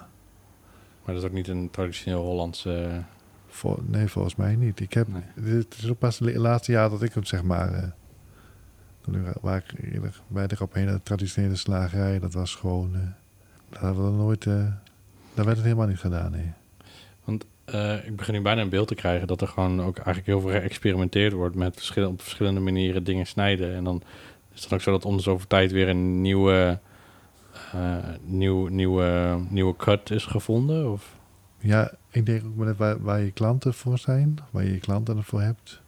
[SPEAKER 2] Maar dat is ook niet een traditioneel Hollandse... eh,
[SPEAKER 3] Vol- nee, volgens mij niet. Ik heb,
[SPEAKER 2] nee.
[SPEAKER 3] Dit is ook pas het laatste jaar dat ik hem zeg maar. eh, toen ik- waar ik eerder weinig op heen, de traditionele slagerij, dat was gewoon. eh, daar hebben we dan nooit. eh, daar werd het helemaal niet gedaan. Nee.
[SPEAKER 2] Eh, ik begin nu bijna een beeld te krijgen dat er gewoon ook eigenlijk heel veel geëxperimenteerd wordt met verschillen, op verschillende manieren dingen snijden. En dan is het dan ook zo dat om de zoveel tijd weer een nieuwe, eh, nieuw, nieuwe, nieuwe cut is gevonden. Of?
[SPEAKER 3] Ja, ik denk ook maar net waar, waar je klanten voor zijn, waar je je klanten voor hebt.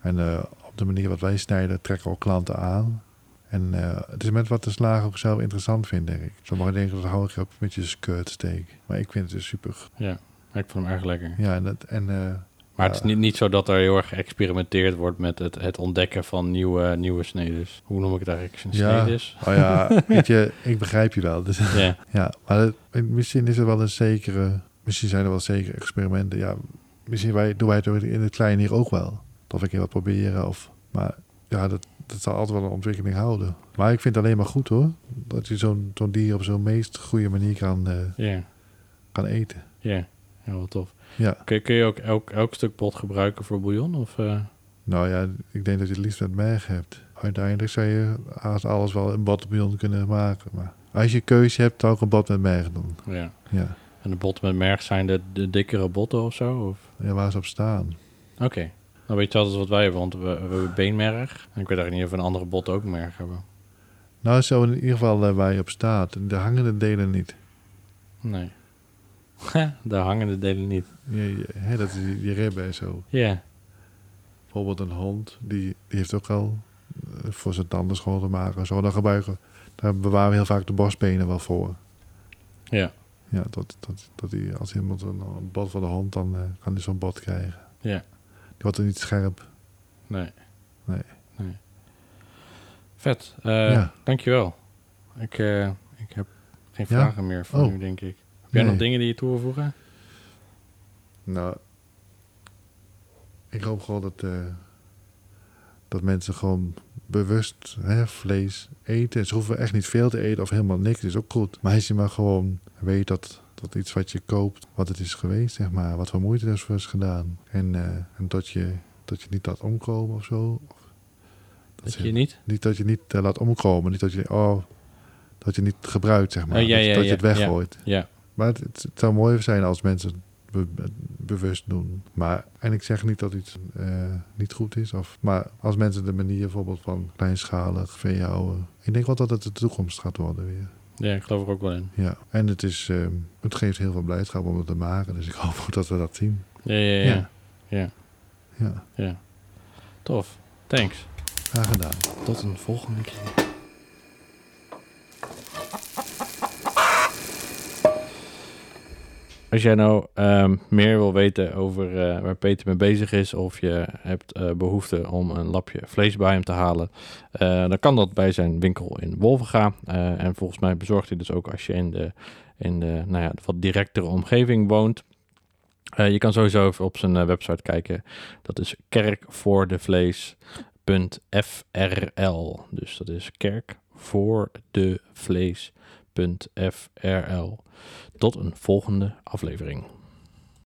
[SPEAKER 3] En eh, op de manier wat wij snijden, trekken we ook klanten aan. En eh, het is met wat de slager ook zelf interessant vindt, denk ik. Sommigen denken dat hou ik op met je skirt steak. Maar ik vind het dus super.
[SPEAKER 2] Ja, ik vond hem erg lekker.
[SPEAKER 3] Ja, en, dat, en eh,
[SPEAKER 2] Maar het is niet, niet zo dat er heel erg geëxperimenteerd wordt met het, het ontdekken van nieuwe, nieuwe snedes. Hoe noem ik het eigenlijk? Een
[SPEAKER 3] Ja.
[SPEAKER 2] snedes?
[SPEAKER 3] Oh ja, weet je, ik begrijp je wel. Dus,
[SPEAKER 2] Ja.
[SPEAKER 3] ja, maar het- misschien is er wel een zekere... Misschien zijn er wel zekere experimenten. Ja, misschien wij, doen wij het in het kleine hier ook wel. Of ik keer wat proberen. Of, maar ja, dat, dat zal altijd wel een ontwikkeling houden. Maar ik vind het alleen maar goed hoor. Dat je zo'n zo'n dier op zo'n meest goede manier kan, eh,
[SPEAKER 2] Ja.
[SPEAKER 3] kan eten.
[SPEAKER 2] Ja. Ja, wat tof.
[SPEAKER 3] Ja,
[SPEAKER 2] Kun, kun je ook elk, elk stuk bot gebruiken voor bouillon? Of, eh?
[SPEAKER 3] nou ja, ik denk dat je het liefst met merg hebt. Uiteindelijk zou je haast alles wel een botbillon kunnen maken. Maar als je keuze hebt, zou ik een bot met merg doen.
[SPEAKER 2] Ja.
[SPEAKER 3] Ja,
[SPEAKER 2] En de botten met merg zijn de, de dikkere botten of zo? Of?
[SPEAKER 3] ja waar ze op staan.
[SPEAKER 2] Oké. Nou weet je altijd wat wij hebben, want we, we hebben beenmerg. En ik weet eigenlijk niet of we een andere bot ook merg hebben.
[SPEAKER 3] Nou, zo in ieder geval eh, waar je op staat. De hangende delen niet.
[SPEAKER 2] Nee. de hangende delen niet.
[SPEAKER 3] Je, je- hè, dat is die, die ribben en zo.
[SPEAKER 2] Ja.
[SPEAKER 3] Bijvoorbeeld een hond, die, die heeft ook al eh, voor zijn tanden schoon te maken. en Zo, dan gebruiken, daar bewaren we heel vaak de borstbenen wel voor.
[SPEAKER 2] Ja.
[SPEAKER 3] Ja, dat, dat, dat die, als iemand een, een bot van de hond, dan eh, kan hij zo'n bot krijgen.
[SPEAKER 2] Ja.
[SPEAKER 3] Die wordt er niet scherp.
[SPEAKER 2] Nee.
[SPEAKER 3] Nee.
[SPEAKER 2] Nee. Vet. Eh,
[SPEAKER 3] Ja.
[SPEAKER 2] Dankjewel. Ik, eh, ik heb geen
[SPEAKER 3] Ja?
[SPEAKER 2] vragen meer voor
[SPEAKER 3] Oh.
[SPEAKER 2] nu, denk ik. Heb jij
[SPEAKER 3] Nee.
[SPEAKER 2] nog dingen die je toe wil voegen?
[SPEAKER 3] Nou, ik hoop gewoon dat, eh, dat mensen gewoon bewust hè, vlees eten. Ze hoeven echt niet veel te eten of helemaal niks, is ook goed. Maar als je maar gewoon weet dat, dat iets wat je koopt, wat het is geweest, zeg maar, wat voor moeite er is voor is gedaan. En, eh, en dat, je, dat je niet laat omkomen of zo. Of dat
[SPEAKER 2] Dat
[SPEAKER 3] ze-
[SPEAKER 2] je niet?
[SPEAKER 3] niet dat je niet eh, laat omkomen, niet dat je, oh, dat je niet gebruikt, zeg maar.
[SPEAKER 2] Oh, ja,
[SPEAKER 3] dat je,
[SPEAKER 2] ja,
[SPEAKER 3] dat je
[SPEAKER 2] ja,
[SPEAKER 3] het weggooit.
[SPEAKER 2] Ja.
[SPEAKER 3] Maar het, het- het zou mooi zijn als mensen be- be- bewust doen. Maar, en ik zeg niet dat iets eh, niet goed is. Of, maar als mensen de manier bijvoorbeeld van kleinschalig veehouden. Ik denk wel dat het de toekomst gaat worden weer.
[SPEAKER 2] Ja, ik geloof er ook wel in.
[SPEAKER 3] Ja. En het, is, eh, het geeft heel veel blijdschap om het te maken. Dus ik hoop ook dat we dat zien.
[SPEAKER 2] Ja, ja, ja. ja.
[SPEAKER 3] Ja,
[SPEAKER 2] Tof. Thanks.
[SPEAKER 3] graag gedaan.
[SPEAKER 2] Tot een volgende keer. Als jij nou ehm, meer wil weten over eh, waar Peter mee bezig is, of je hebt eh, behoefte om een lapje vlees bij hem te halen, eh, dan kan dat bij zijn winkel in Wolvenga. Eh, en volgens mij bezorgt hij dus ook als je in de, in de nou ja, wat directere omgeving woont. Eh, je kan sowieso even op zijn eh, website kijken. Dat is kerkvoordevlees kerk.frl. Dus dat is kerk voor de vlees.frl. Tot een volgende aflevering.